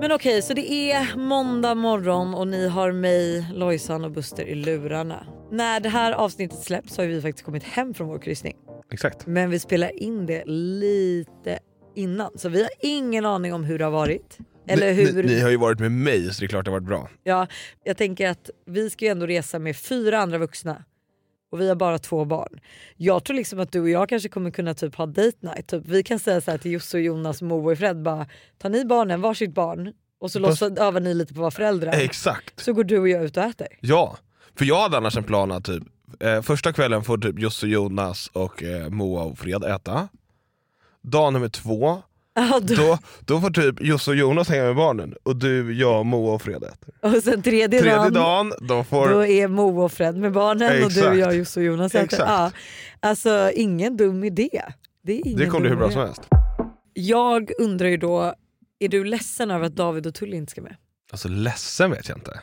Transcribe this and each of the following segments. Men okej, så det är måndag morgon och ni har mig, Lojsan och Buster i lurarna. När det här avsnittet släpps har vi faktiskt kommit hem från vår kryssning. Exakt. Men vi spelar in det lite innan så vi har ingen aning om hur det har varit. Eller ni, hur... ni, ni har ju varit med mig så det är klart det har varit bra. Ja, jag tänker att vi ska ju ändå resa med fyra andra vuxna och vi har bara två barn. Jag tror liksom att du och jag kanske kommer kunna typ ha date night. Typ, vi kan säga så här till Josse, och Jonas, Moe och Fred bara, tar ni barnen varsitt barn och så Fast- låtsas, övar ni lite på att vara föräldrar. Exakt. Så går du och jag ut och äter. Ja, för jag hade annars en plan att typ, eh, första kvällen får typ Josse, Jonas och eh, Moa och Fred äta. Dag nummer två, Ja, du, då, då får typ Josse och Jonas hänga med barnen och du, jag, Moa och Fred äter. och sen tredje, Tredje dagen, dagen, de då får... är Moe och Fred med barnen och du och Exakt. jag, Josse och Jonas äter. Exakt. Ja, alltså ingen dum idé. Det, är ingen Det kommer bli dum hur bra idé. som helst. Jag undrar ju då, är du ledsen över att David och Tully inte ska med? Alltså ledsen vet jag inte.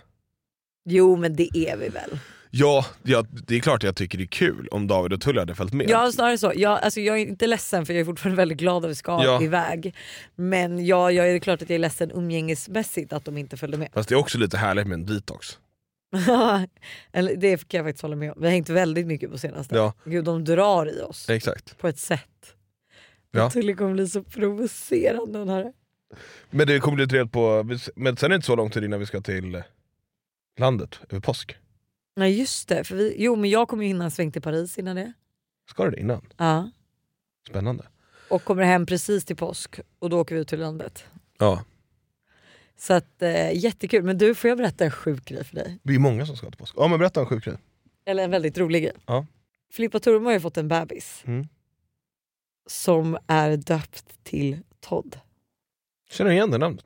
Jo men det är vi väl. Ja, ja, det är klart jag tycker det är kul om David och Tully hade följt med. Ja snarare så. Jag, alltså, jag är inte ledsen för jag är fortfarande väldigt glad att vi ska Ja. iväg. Men ja, jag är klart att jag är ledsen umgängesmässigt att de inte följde med. Fast det är också lite härligt med en detox. Eller, det kan jag faktiskt hålla med om. Vi har hängt väldigt mycket på senaste. Ja. Gud de drar i oss Exakt. på ett sätt. Ja. Jag tror det kommer bli så provocerande den här. Men det kommer bli trevligt på... Men sen är det inte så lång tid innan vi ska till landet över påsk. Nej just det, för vi, jo men jag kommer ju hinna en sväng till Paris innan det. Ska du det innan? Ja. Spännande. Och kommer hem precis till påsk och då åker vi ut till landet. Ja. Så att, eh, jättekul. Men du, får jag berätta en sjuk grej för dig? Vi är många som ska till påsk. Ja men berätta en sjuk grej. Eller en väldigt rolig grej. Ja. Filippa Turmo har ju fått en bebis Mm. som är döpt till Todd. Känner du igen det namnet?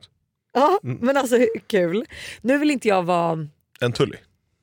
Ja, Mm. men alltså hur kul. Nu vill inte jag vara... En Tully.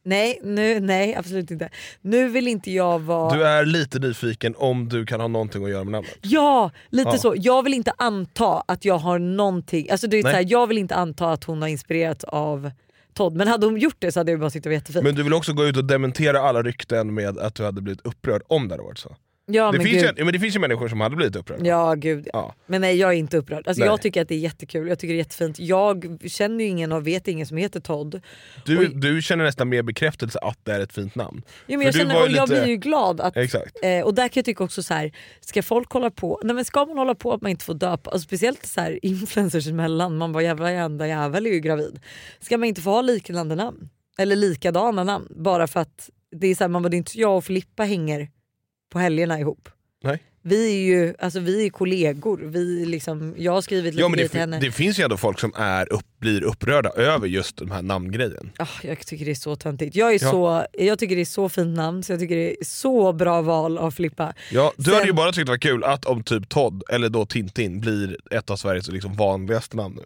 Nej, nu, nej absolut inte. Nu vill inte jag vara... Du är lite nyfiken om du kan ha någonting att göra med namnet. Ja, lite Ja. så. Jag vill inte anta att jag har någonting. Alltså det är så Nej. här, jag vill inte anta att hon har inspirerats av Todd. Men hade hon gjort det så hade jag bara tyckt det var jättefint. Men du vill också gå ut och dementera alla rykten med att du hade blivit upprörd om det hade varit så. ja, det, men finns ju, gud. ja, men det finns ju människor som hade blivit upprörda. Ja gud. Ja. Men nej jag är inte upprörd. Alltså, Nej. jag tycker att det är jättekul, jag tycker det är jättefint. Jag känner ju ingen och vet ingen som heter Todd. Du, Oj. du känner nästan mer bekräftelse att det är ett fint namn. Jo, För men jag, du känner, var och ju jag lite- blir ju glad att Exakt. Eh, och där kan jag tycka också så här, ska folk hålla på, nej men ska man hålla på att man inte får döpa, alltså speciellt så här influencers emellan, man bara jävla jävla jävel är ju gravid. Ska man inte få ha liknande namn? Eller likadana namn? Bara för att det är så här, man bara, det är inte jag och Filippa hänger på helgerna ihop. Nej. Vi är ju alltså, vi är kollegor, vi är liksom, jag har skrivit lite Ja, men grejer det, till henne. fin- det finns ju ändå folk som är upp, blir upprörda över just den här namngrejen. Ah, jag tycker det är så töntigt. Jag, är Ja. så, jag tycker det är så fint namn så jag tycker det är så bra val av Filippa. Ja, du Sen- hade ju bara tyckt det var kul att om typ Todd, eller då Tintin, blir ett av Sveriges liksom vanligaste namn nu.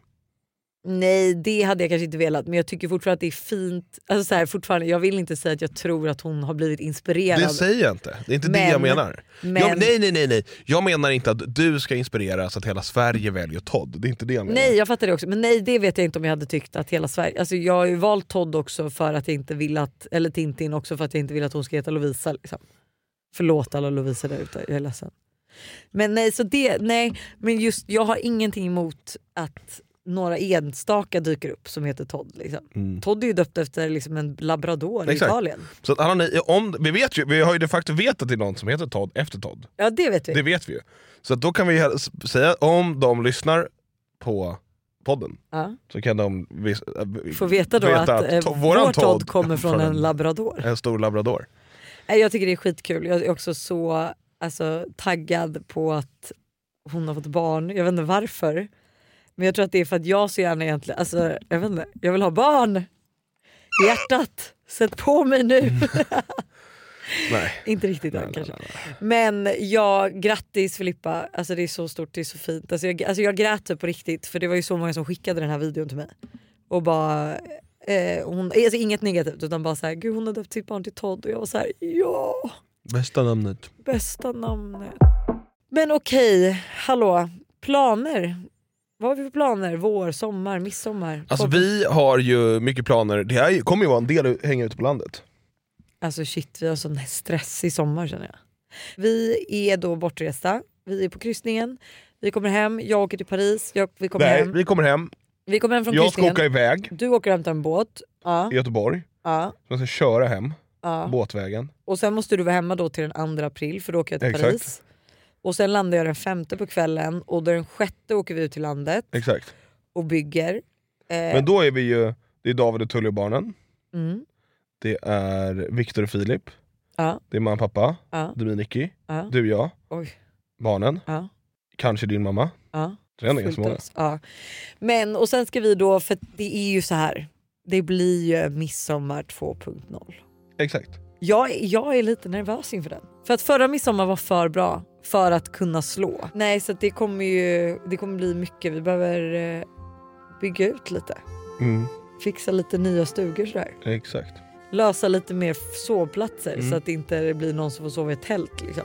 Nej det hade jag kanske inte velat men jag tycker fortfarande att det är fint. Alltså så här, fortfarande, jag vill inte säga att jag tror att hon har blivit inspirerad. Det säger jag inte, det är inte Men- det jag menar. men- Jag, nej nej nej nej, jag menar inte att du ska inspirera så att hela Sverige väljer Todd, det är inte det jag menar. nej jag fattar det också men nej det vet jag inte om jag hade tyckt att hela Sverige. Alltså, jag har ju valt Todd också för att jag inte vill att, eller Tintin också för att jag inte vill att hon ska heta Lovisa. Liksom. Förlåt alla Lovisa där ute, jag är ledsen. Men nej, så det, nej, men just jag har ingenting emot att några enstaka dyker upp som heter Todd. Liksom. Todd är ju döpt efter liksom, en labrador Exakt. i Italien. Mm. Så att alla ni, om, vi, vet ju, vi har ju de facto vetat att det är någon som heter Todd efter Todd, Ja det vet vi. det vet vi ju. Så att då kan vi hel- s- säga, om de lyssnar på podden, Ja. så kan de vis- äh, Får veta då att, eh, to- vår våran Todd, kommer från, en labrador. en stor labrador. Nej, Jag tycker det är skitkul. Jag är också så alltså, taggad på att hon har fått barn. Jag vet inte varför. Men jag tror att det är för att jag så gärna egentligen, alltså, jag vet inte, jag vill ha barn. Hjärtat, sätt på mig nu. Nej. Inte riktigt Nej, än nej, kanske. nej, nej. Men ja, grattis Filippa. Alltså det är så stort, det är så fint. Alltså jag, alltså jag grät typ på riktigt för det var ju så många som skickade den här videon till mig. Och bara, eh, hon, alltså inget negativt utan bara så här, gud hon har döpt sitt barn till Todd och jag var så här, ja, Bästa namnet. bästa namnet. Men okej, hallå, planer. Vad har vi för planer? Vår, sommar, midsommar? Alltså Todd- vi har ju mycket planer, det här kommer ju vara en del att hänga ute på landet. Alltså shit, vi har sån stressig sommar känner jag. Vi är då bortresta, vi är på kryssningen, vi kommer hem, jag åker till Paris, jag, vi kommer Nej, hem. vi kommer hem, Vi kommer hem från jag ska kryssningen, åka iväg du åker och hämtar en båt. Ja, i Göteborg, ja, jag ska köra hem ja. båtvägen. Och sen måste du vara hemma då till den 2 april för då åker jag till Exakt. Paris. Och sen landar jag den femte på kvällen och den sjätte åker vi ut till landet Exakt. och bygger. Eh, Men då är vi ju, det är David och Tully och barnen, mm, det är Viktor och Filip, ja, det är mamma och pappa, ja, du är Nicky, ja, du och jag, oj, barnen, ja, kanske din mamma. ja. Det är ändå ganska många. Fullt ös, Ja. Men och sen ska vi då, för det är ju så här. Det blir ju midsommar 2.0. Exakt. Jag, är- jag är lite nervös inför den. För att förra midsommar var för bra för att kunna slå. Nej så att det kommer ju det kommer bli mycket. Vi behöver eh, bygga ut lite. Mm, Fixa lite nya stugor sådär. exakt. Lösa lite mer sovplatser Mm. så att det inte blir någon som får sova i tält. Liksom.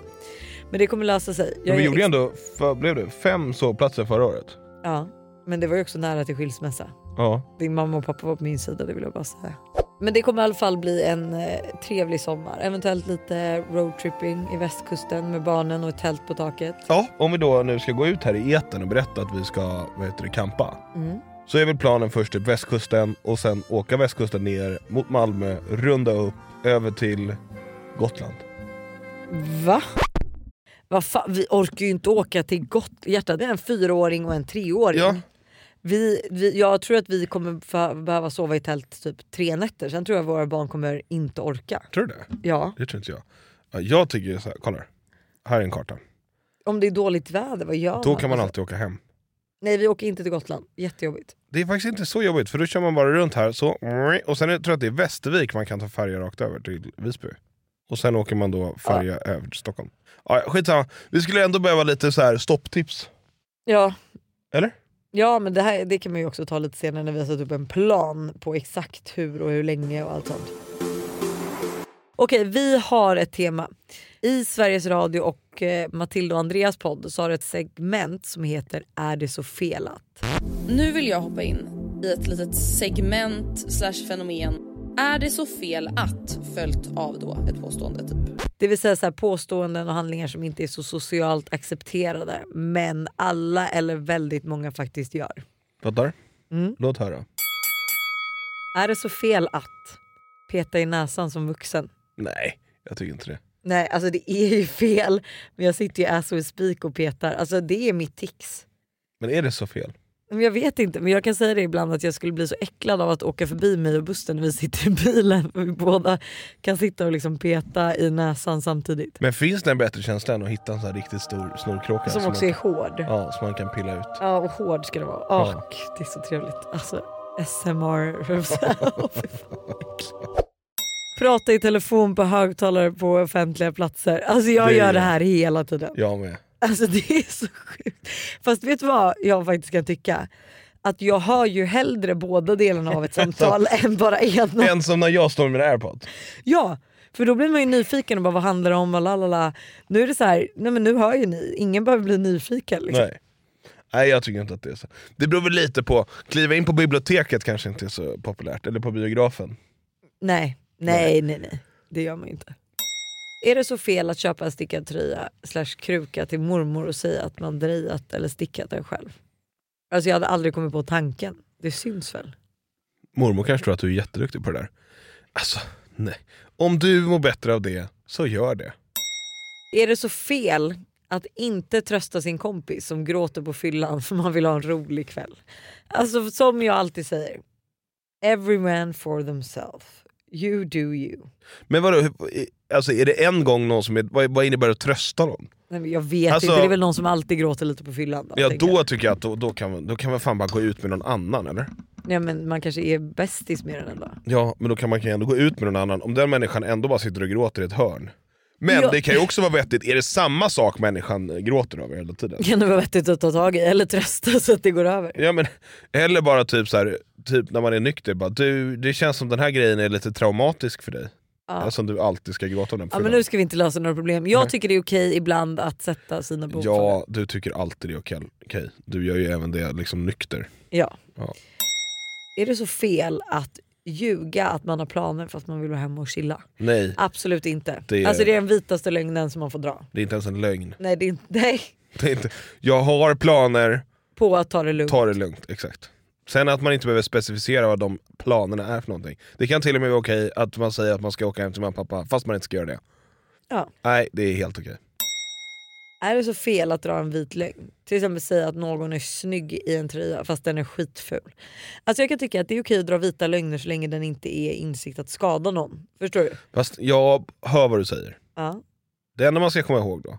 Men det kommer lösa sig. Men är vi gjorde ju ex- ändå, vad blev det, fem sovplatser förra året. ja, men det var ju också nära till skilsmässa. Ja. Din mamma och pappa var på min sida, det vill jag bara säga. Men det kommer i alla fall bli en eh, trevlig sommar. Eventuellt lite roadtripping i västkusten med barnen och ett tält på taket. ja. Om vi då nu ska gå ut här i etern och berätta att vi ska, vad heter det, kampa. Mm. Så är väl planen först till västkusten och sen åka västkusten ner mot Malmö, runda upp, över till Gotland. Va? Va fa- vi orkar ju inte åka till Gotthjärtat. Det är en fyraåring och en treåring. Ja. Vi, vi, jag tror att vi kommer fa- behöva sova i tält typ tre nätter. Sen tror jag våra barn kommer inte orka. Tror du det? Ja, Det tror inte jag. Ja, Jag tycker ju så här, kolla här. Här är en karta. om det är dåligt väder, vad gör Då man? kan man Alltså, alltid åka hem. Nej vi åker inte till Gotland, jättejobbigt. Det är faktiskt inte så jobbigt för då kör man bara runt här så och sen är- tror jag att det är Västervik man kan ta färja rakt över till Visby. Och sen åker man då färja över till Stockholm. Ja, ja, skitsamma, vi skulle ändå behöva lite så här stopptips. Ja, Eller? Ja men det, här, det kan man ju också ta lite senare när vi har satt upp en plan på exakt hur och hur länge och allt sånt. Okej, vi har ett tema. I Sveriges Radio och eh, Matilda och Andreas podd så har du ett segment som heter Är det så felat? Nu vill jag hoppa in i ett litet segment slash fenomen. Är det så fel att? Följt av då ett påstående typ. Det vill säga så här, påståenden och handlingar som inte är så socialt accepterade men alla eller väldigt många faktiskt gör. Fattar? Mm. Låt höra. Är det så fel att peta i näsan som vuxen? Nej, jag tycker inte det. Nej, alltså det är ju fel. Men jag sitter ju as we speak och petar. Alltså det är mitt tics. Men är det så fel? Men jag vet inte, men jag kan säga det ibland att jag skulle bli så äcklad av att åka förbi mig och bussen när vi sitter i bilen. För vi båda kan sitta och liksom peta i näsan samtidigt. Men finns det en bättre känsla än att hitta en sån här riktigt stor snorkråka? Som också man, är hård. Ja, som man kan pilla ut. Ja, och hård ska det vara. Åh, Ja. gud, det är så trevligt. Alltså, SMR. Åh, fy fan, vad äckligt. Prata i telefon på högtalare på offentliga platser. Alltså jag Det är- gör det här hela tiden. Jag med. Alltså det är så sjukt. Fast vet du vad jag faktiskt kan tycka? Att jag hör ju hellre båda delarna av ett samtal än bara ena. En som när jag står med mina airpods. Ja, för då blir man ju nyfiken och bara vad handlar det om? Och lalala. Nu är det så här, nej men nu hör ju ni. Ingen behöver bli nyfiken. Liksom. Nej. Nej jag tycker inte att det är så. Det beror väl lite på, kliva in på biblioteket kanske inte är så populärt, eller på biografen. Nej. nej, nej, nej, Det gör man ju inte. Är det så fel att köpa en stickad tröja slash kruka till mormor och säga att man drejat eller stickat den själv? Alltså jag hade aldrig kommit på tanken. Det syns väl? Mormor kanske tror att du är jätteduktig på det där. Alltså, nej. Om du mår bättre av det, så gör det. Är det så fel att inte trösta sin kompis som gråter på fyllan för man vill ha en rolig kväll? Alltså som jag alltid säger, every man for themselves. You do you. Men vadå, hur- alltså, är det en gång någon som är, vad, vad innebär det att trösta någon? Nej, men jag vet Alltså- inte, det är väl någon som alltid gråter lite på fyllan. Då, Ja tänker jag. då tycker jag att då, då, kan, man- då kan man fan bara gå ut med någon annan eller? Ja, men man kanske är bästis med den ändå. Ja, men då kan man kan ju ändå gå ut med någon annan. Om den människan ändå bara sitter och gråter i ett hörn. Men Ja. det kan ju också vara vettigt, är det samma sak människan gråter över hela tiden? Kan det vara vettigt att ta tag i eller trösta så att det går över? Ja, men, eller bara typ så här, typ när man är nykter, bara, du, det känns som den här grejen är lite traumatisk för dig. Ja. Som du alltid ska gråta om den Ja, för. men nu ska vi inte lösa några problem. Jag tycker det är okej ibland att sätta sina behov före. ja, du tycker alltid det är okej. okej. Du gör ju även det liksom nykter. Ja. Ja. Är det så fel att ljuga att man har planer för att man vill vara hemma och chilla? Nej, Absolut inte. Det är- Alltså det är den vitaste lögnen som man får dra. det är inte ens en lögn. Nej, det är inte, nej. Det är inte, jag har planer, På att ta det lugnt. ta det lugnt. Exakt. Sen att man inte behöver specificera vad de planerna är för någonting. Det kan till och med vara okej att man säger att man ska åka hem till mamma och pappa fast man inte ska göra det. Ja. Nej, det är helt okej. Är det så fel att dra en vit lögn? Till exempel säga att någon är snygg i en tröja fast den är skitful. Alltså jag kan tycka att det är okej att dra vita lögner så länge den inte är insikt att skada någon. Förstår du? Fast jag hör vad du säger. Ja. Det enda man ska komma ihåg då,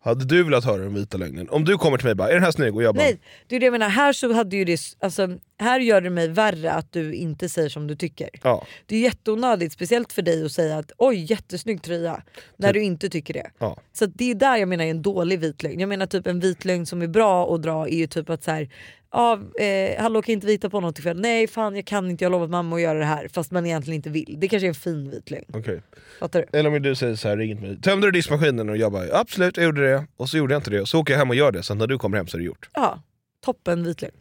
hade du velat höra den vita lögnen? Om du kommer till mig och bara “är den här snygg?” och jag bara Nej, det är det jag menar. Här, så hade ju det, alltså, här gör det mig värre att du inte säger som du tycker. “ja, Det är jätteonödigt, speciellt för dig att säga att oj jättesnygg tröja, när du inte tycker det. ja, Så att det är där jag menar en dålig vitlögn. Jag menar typ en vitlögn som är bra att dra är ju typ att så här, ah, eh, hallå kan jag inte vita på något ikväll? Nej fan jag kan inte, jag har lovat mamma att göra det här. Fast man egentligen inte vill. Det kanske är en fin vitlögn. okej”. Fattar du? Eller om du säger så här, ring mig. Tömde du diskmaskinen? Och jag bara “absolut, jag gjorde det” och så gjorde jag inte det. Så åker jag hem och gör det, sen när du kommer hem så är det gjort. Ja, toppen vitlögn.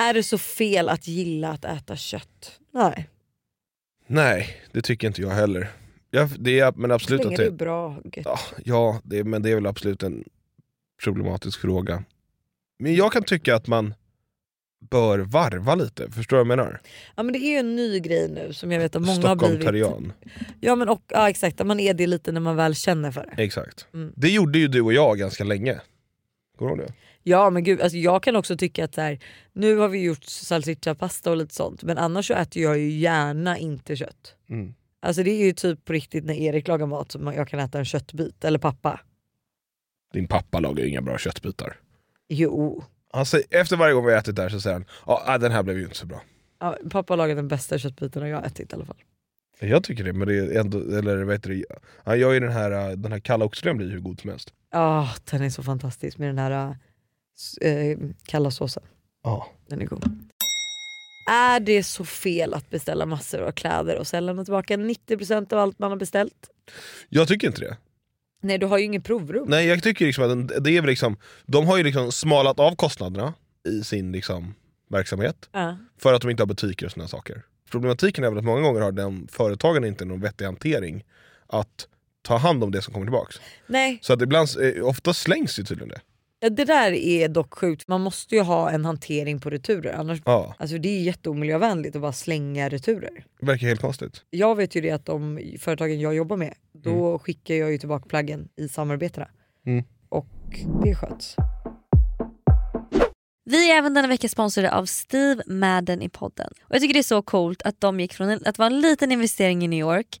Är det så fel att gilla att äta kött? Nej, Nej, det tycker inte jag heller. Jag, det är, men så absolut länge att det är det, bra. gött. ja, ja det, men det är väl absolut en problematisk fråga. Men jag kan tycka att man bör varva lite, förstår du vad jag menar? Ja men det är ju en ny grej nu som jag vet att många har blivit. Stockholmtarian. Ja men och, ja, exakt, att man är det lite när man väl känner för det. Exakt. Mm. Det gjorde ju du och jag ganska länge. Kommer du ihåg det? Ja men gud, alltså jag kan också tycka att så här, nu har vi gjort salsicciapasta och lite sånt men annars så äter jag ju gärna inte kött. Mm. Alltså det är ju typ på riktigt när Erik lagar mat som jag kan äta en köttbit, eller pappa. Din pappa lagar ju inga bra köttbitar. Jo. Han säger, efter varje gång vi har ätit där så säger han ja ah, den här blev ju inte så bra. Ja, pappa lagar den bästa köttbiten jag har ätit i alla fall. Jag tycker det, men det är ändå, eller vad heter det, han gör ju den här, äh, den här kalla oxfilén blir ju hur god som helst. Ja, den är så fantastisk med den här äh, s- eh, kalla såsen. Ja. Den är god. Är det så fel att beställa massor av kläder och sen lämna tillbaka 90% av allt man har beställt? Jag tycker inte det. Nej du har ju inget provrum. Nej jag tycker liksom att den- det är väl liksom, de har ju liksom smalat av kostnaderna i sin liksom verksamhet Ja. för att de inte har butiker och sådana saker. Problematiken är väl att många gånger har den företagen inte någon vettig hantering att ta hand om det som kommer tillbaka. Nej, Så att ibland, eh, ofta slängs ju tydligen det. Ja, Det där är dock sjukt. Man måste ju ha en hantering på returer. Annars, Ja, alltså det är jätteomiljövänligt att bara slänga returer. det verkar helt konstigt. Jag vet ju det att de företagen jag jobbar med, då skickar jag ju tillbaka plaggen i samarbetena. Mm. Och det sköts. Vi är även denna vecka sponsrade av Steve Madden i podden. Och jag tycker det är så coolt att de gick från en, att vara en liten investering i New York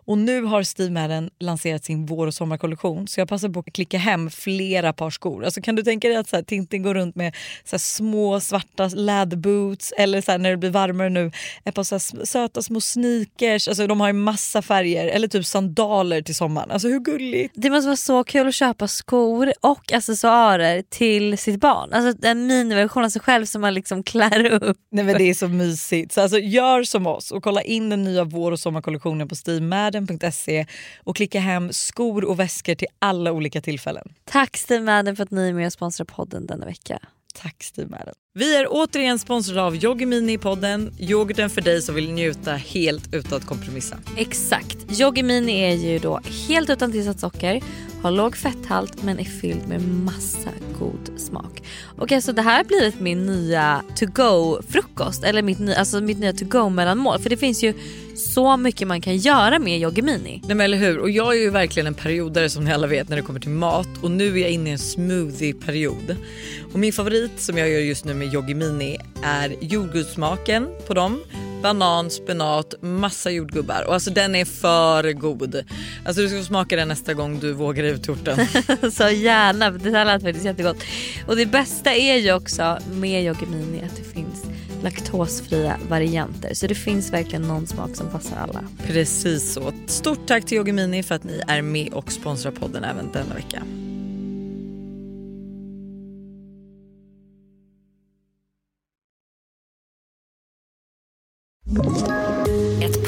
Och nu har Steve Madden lanserat sin vår och sommarkollektion så jag passar på att klicka hem flera par skor. Alltså, kan du tänka dig att så här, Tintin går runt med så här, små svarta läderboots eller så här, när det blir varmare nu ett par så här, sm- söta små sneakers. Alltså, de har ju massa färger eller typ sandaler till sommaren. Alltså hur gulligt? Det måste vara så kul att köpa skor och accessoarer till sitt barn. Alltså en miniversion av sig själv som man liksom klär upp. Nej men det är så mysigt. Så alltså, gör som oss och kolla in den nya vår och sommarkollektionen på steamadden.se och klicka hem skor och väskor till alla olika tillfällen. Tack Steve Madden för att ni är med och sponsrar podden denna vecka. Tack Steamadden. Vi är återigen sponsrade av Yoggi Mini i podden. Yoghurten för dig som vill njuta helt utan att kompromissa. Exakt. Yoggi Mini är ju då helt utan tillsatt socker, har låg fetthalt men är fylld med massa god smak. Och alltså det här har blivit min nya to-go-frukost, eller mitt, ny, alltså mitt nya to-go-mellanmål. För det finns ju så mycket man kan göra med Yoggi Nej Mini. men eller hur? Och jag är ju verkligen en periodare som ni alla vet när det kommer till mat och nu är jag inne i en smoothie-period. Och min favorit som jag gör just nu med Yoggi Mini är jordgubbssmaken på dem. Banan, spenat, massa jordgubbar och alltså den är för god. Alltså du ska få smaka den nästa gång du vågar ut torten. Så gärna, för det här lät faktiskt jättegott. Och det bästa är ju också med Yoggi Mini att det finns laktosfria varianter. Så det finns verkligen någon smak som passar alla. Precis så. Stort tack till Yoggi Mini för att ni är med och sponsrar podden även denna vecka. Ett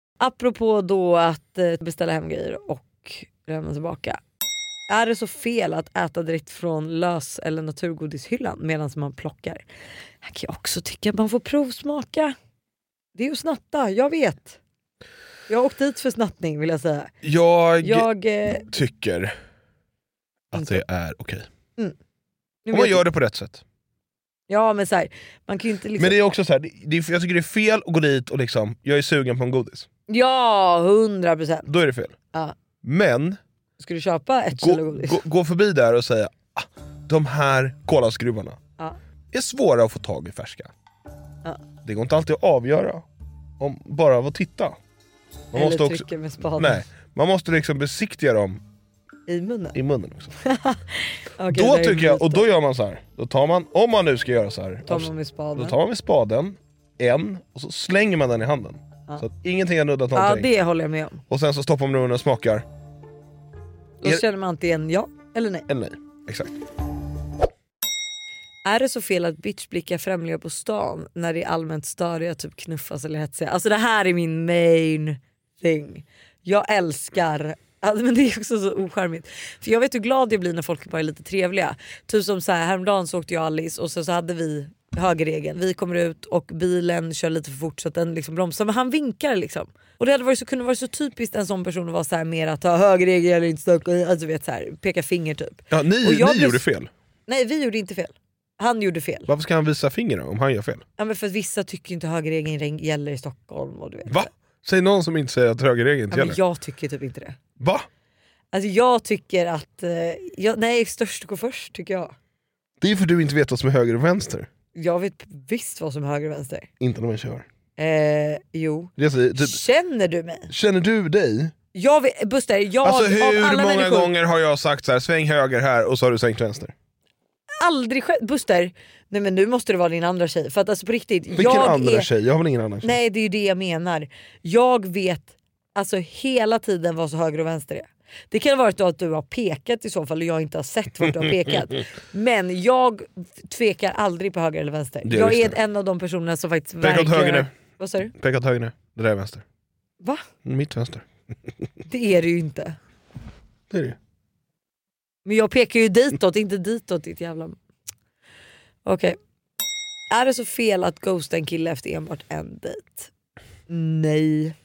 Apropå då att eh, beställa hem grejer och lämna tillbaka. Är det så fel att äta direkt från lös eller naturgodishyllan medan man plockar? Jag kan också tycka att man får provsmaka. Det är ju att snatta, jag vet. Jag har åkt dit för snattning vill jag säga. Jag, Jag... Eh, tycker att det är okej. nu Om man vet gör det på rätt sätt. Ja men så här, man kan ju inte liksom... Men det är också så här, det, det, jag tycker det är fel att gå dit och liksom, jag är sugen på en godis. Ja, hundra procent. Då är det fel. Ja. Men Ska du köpa ett gå, kilo godis? gå, gå förbi där och säga ah, de här kolaskruvarna Ja. är svåra att få tag i färska. Ja. Det går inte alltid att avgöra om bara av att titta. Man Eller måste, trycker också, med spaden nej, man måste liksom besiktiga dem i munnen? i munnen också. Okej, då där är tycker jag, och myten. då gör man så här. Då tar man, om man nu ska göra så här, tar man med spaden. då tar man med spaden, en, och så slänger man den i handen. Ja. Så att ingenting har nuddat Ja någonting. det håller jag med om. Och sen så stoppar man munnen och smakar. Då Är- känner man antingen ja eller nej. Eller nej. Exakt. Är det så fel att bitchblicka främlingar på stan när det är allmänt störiga, typ knuffas eller hetsiga? Alltså det här är min main thing. Jag älskar Alltså, men det är också så ocharmigt. För jag vet hur glad jag blir när folk bara är lite trevliga. Typ som så här, häromdagen så åkte jag och Alice och så, så hade vi högerregeln. Vi kommer ut och bilen kör lite för fort så att den liksom bromsar men han vinkar liksom. Och det hade varit så, kunde varit så typiskt en sån person att vara så här mer att ta högerregeln eller inte stöka alltså vet så här, peka finger typ. Ja, Och ni jag ni blir- gjorde fel. Nej vi gjorde inte fel. Han gjorde fel. Varför ska han visa finger då, om han gör fel? Ja, men för att vissa tycker inte högerregeln gäller i Stockholm. Och du vet. Va? Säg någon som inte säger att högerregeln Ja, inte men gäller. jag tycker typ inte det. Va? Alltså jag tycker att, eh, jag, nej störst går först tycker jag. Det är för du inte vet vad som är höger och vänster. Jag vet visst vad som är höger och vänster. Inte när man kör. Eh, jo. Det är så, typ, Känner du mig? känner du dig? Jag vet, Buster, jag Alltså hur av alla många människor gånger har jag sagt så här, sväng höger här och så har du svängt vänster? aldrig själv, Buster, nej men nu måste det vara din andra tjej. För att alltså på riktigt, Vilken jag andra är, tjej? Jag har väl ingen annan tjej? Nej det är ju det jag menar. Jag vet alltså hela tiden vad så höger och vänster är. Det kan vara att du har pekat i så fall och jag inte har sett vart du har pekat. Men jag tvekar aldrig på höger eller vänster. Det är jag just är det. en av de personerna som faktiskt Peka åt höger nu. Vad sa du? Peka åt höger nu. Det där är vänster. Va? Mitt vänster. Det är det ju inte. Det är det. Men jag pekar ju ditåt, inte ditåt ditt jävla... Okej. Är det så fel att ghosta en kille efter enbart en dejt? Nej.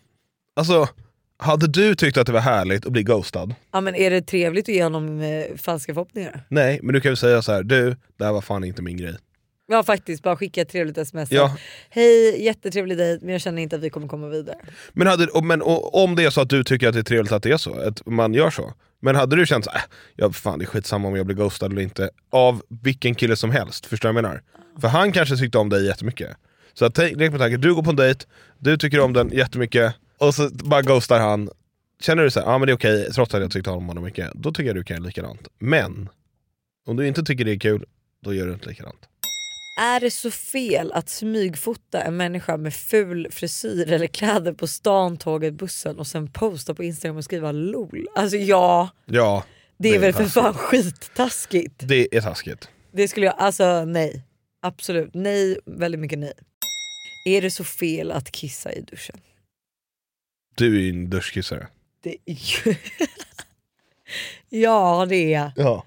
Alltså, hade du tyckt att det var härligt att bli ghostad? Ja, men är det trevligt att ge honom eh, falska förhoppningar? Nej, men du kan väl säga så här, du, det här var fan inte min grej. Ja faktiskt, bara skicka ett trevligt sms. Ja. Hej, jättetrevlig dejt men jag känner inte att vi kommer komma vidare. Men, hade, och- men och, om det är så att du tycker att det är trevligt att det är så, att man gör så. Men hade du känt såhär, äh, ja, fan det är skitsamma om jag blir ghostad eller inte, av vilken kille som helst, förstår du vad jag menar? För han kanske tyckte om dig jättemycket. Så att, tänk- lek med tanken, du går på en dejt, du tycker om den jättemycket, och så bara ghostar han. Känner du såhär, ja ah, men det är okej, trots att jag tyckte om honom mycket, då tycker jag du kan göra likadant. Men, om du inte tycker det är kul, då gör du inte likadant. Är det så fel att smygfota en människa med ful frisyr eller kläder på stan, tåget, bussen och sen posta på Instagram och skriva LOL? Alltså ja, Ja, det är, väl för taskigt. fan skittaskigt. Det är taskigt. Det skulle jag, alltså nej. Absolut nej, väldigt mycket nej. Är det så fel att kissa i duschen? Du är ju en duschkissare. Det är ju... ja det är jag. Ja.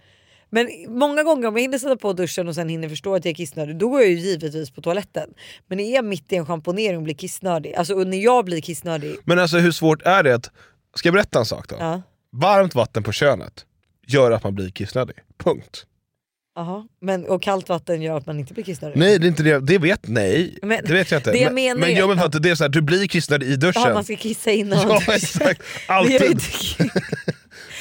Men många gånger om jag hinner sätta på duschen och sen hinner förstå att jag är kissnödig då går jag ju givetvis på toaletten. Men är jag mitt i en schamponering och blir kissnödig, alltså och när jag blir kissnödig, Men alltså hur svårt är det att... Ska jag berätta en sak då? ja. Varmt vatten på könet gör att man blir kissnödig. Punkt. Aha. Men, och kallt vatten gör att man inte blir kissnödig. Nej, det är inte det. Det vet nej. Men- det vet jag inte. det jag men, menar men är- jag menar att det är så här, du blir kissnödig i duschen. Jaha, man ska kissa innan Ja, duschen. exakt. Men jag är Alltid. inte-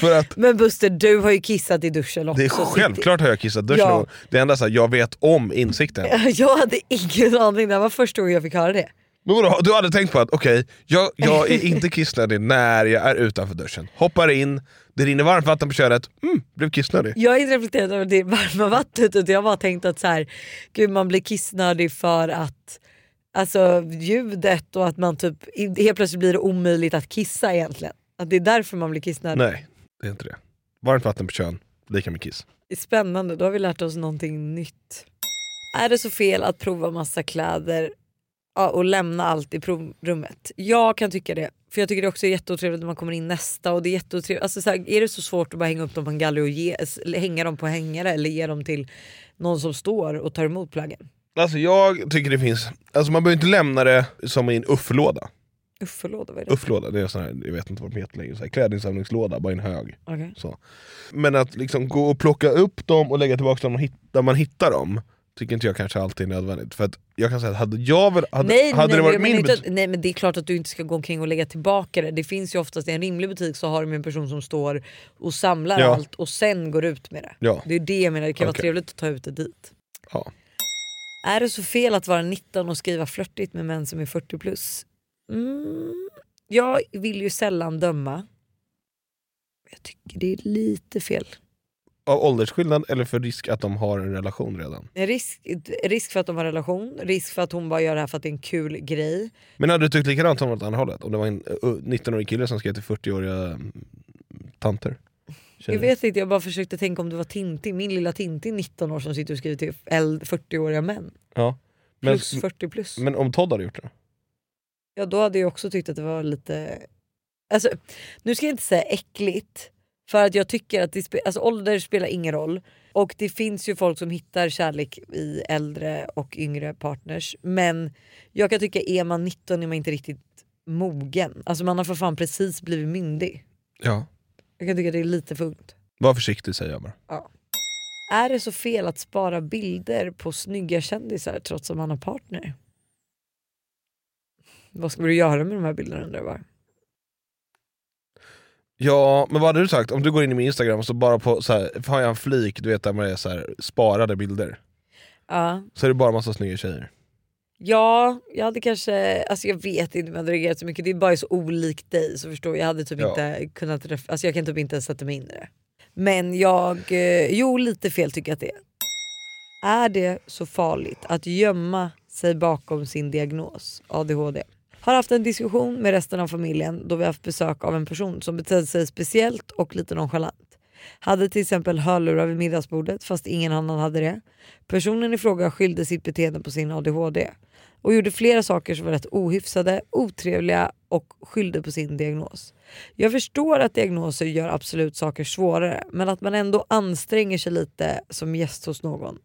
För att Men Buster, du har ju kissat i duschen också. det är så självklart har jag kissat i duschen Ja. någon gång. Det enda så här, jag vet om insikten. Jag hade ingen aning, det var första gången jag fick höra det. Men vadå, du hade tänkt på att okej, jag, jag är inte kissnödig när jag är utanför duschen. Hoppar in, det rinner varmt vatten på könet, mm, blev kissnödig. Jag har inte reflekterat över det varma vattnet utan jag har bara tänkt att så här, gud, man blir kissnödig för att alltså, ljudet och att man typ helt plötsligt blir det omöjligt att kissa egentligen. Att det är därför man blir kissnödig. Nej, det är inte det. Varmt vatten på kön, lika med kiss. Det är Spännande, då har vi lärt oss någonting nytt. Är det så fel att prova massa kläder ja, och lämna allt i provrummet? Jag kan tycka det. För jag tycker det också är jätteotrevligt när man kommer in nästa och det är jätteotrevligt. Alltså, så här, är det så svårt att bara hänga upp dem på en galge och ge, eller hänga dem på hängare eller ge dem till någon som står och tar emot plaggen? Alltså jag tycker det finns, alltså man behöver inte lämna det som i en ufflåda. Uff, förlåt, vad är det? Ufflåda, det är sån här, jag vet inte vad de heter längre, så här, klädinsamlingslåda, bara i en hög. Okej. Så. Men att liksom gå och plocka upp dem och lägga tillbaka dem och hit- där man hittar dem, tycker inte jag kanske alltid är nödvändigt. För att jag kan säga att hade jag väl, hade, nej, hade nej, det varit men min inte, butik- nej men det är klart att du inte ska gå omkring och lägga tillbaka det. Det finns ju oftast i en rimlig butik så har de ju en person som står och samlar Ja. allt och sen går ut med det. Ja. Det är det jag menar, det kan vara Okej. trevligt att ta ut det dit. Ja. Är det så fel att vara 19 och skriva flörtigt med män som är 40 plus? Mm, jag vill ju sällan döma. Jag tycker det är lite fel. Av åldersskillnad eller för risk att de har en relation redan? En Risk, risk för att de har relation, risk för att hon bara gör det här för att det är en kul grej. Men hade du tyckt likadant om åt andra hållet? Om det var en eh, 19-årig kille som skrev till 40-åriga mm, tanter? Jag Tjejer. vet inte, jag bara försökte tänka om det var Tintin, min lilla Tintin 19 år som sitter och skriver till eld- 40-åriga män. Ja. Men, Plus 40 plus. men om Todd hade gjort det? Ja då hade jag också tyckt att det var lite... Alltså, nu ska jag inte säga äckligt, för att jag tycker att det spe... alltså, ålder spelar ingen roll. Och det finns ju folk som hittar kärlek i äldre och yngre partners. Men jag kan tycka är man 19 är man inte riktigt mogen. Alltså man har för fan precis blivit myndig. Ja. Jag kan tycka det är lite för ungt. Var försiktig säger jag bara. Är det så fel att spara bilder på snygga kändisar trots att man har partner? Vad ska du göra med de här bilderna undrar jag bara. Ja, men vad hade du sagt? Om du går in i min instagram och så bara på så här, har jag en flik du vet där man är så här, sparade bilder. Ja. Så är det bara massa snygga tjejer. ja, jag hade kanske, alltså jag vet inte om jag hade reagerat så mycket. Det är bara så olikt dig så förstår jag. Jag hade typ Ja. inte kunnat, ref- alltså jag kan typ inte ens sätta mig in i det. Men jag, eh, jo lite fel tycker jag att det är. Är det så farligt att gömma sig bakom sin diagnos ADHD? Har haft en diskussion med resten av familjen då vi haft besök av en person som betedde sig speciellt och lite nonchalant. Hade till exempel hörlurar vid middagsbordet fast ingen annan hade det. Personen i fråga skyllde sitt beteende på sin ADHD och gjorde flera saker som var rätt ohyfsade, otrevliga och skyllde på sin diagnos. Jag förstår att diagnoser gör absolut saker svårare men att man ändå anstränger sig lite som gäst hos någon.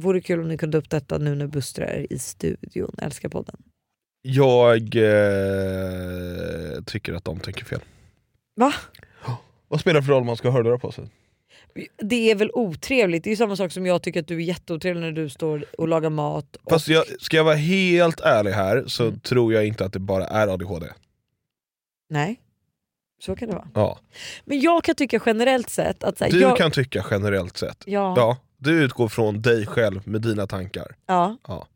Vore kul om ni kunde uppdatta nu när Buster är i studion. Älskar podden. Jag eh, tycker att de tänker fel. Va? Vad spelar det för roll om man ska ha hörlurar på sig? Det är väl otrevligt? Det är ju samma sak som jag tycker att du är jätteotrevlig när du står och lagar mat. Och... Fast jag, ska jag vara helt ärlig här så tror jag inte att det bara är ADHD. Nej, så kan det vara. Ja. Men jag kan tycka generellt sett att... Så här, Du jag... kan tycka generellt sett. Ja. Ja, du utgår från dig själv med dina tankar. Ja. Ja.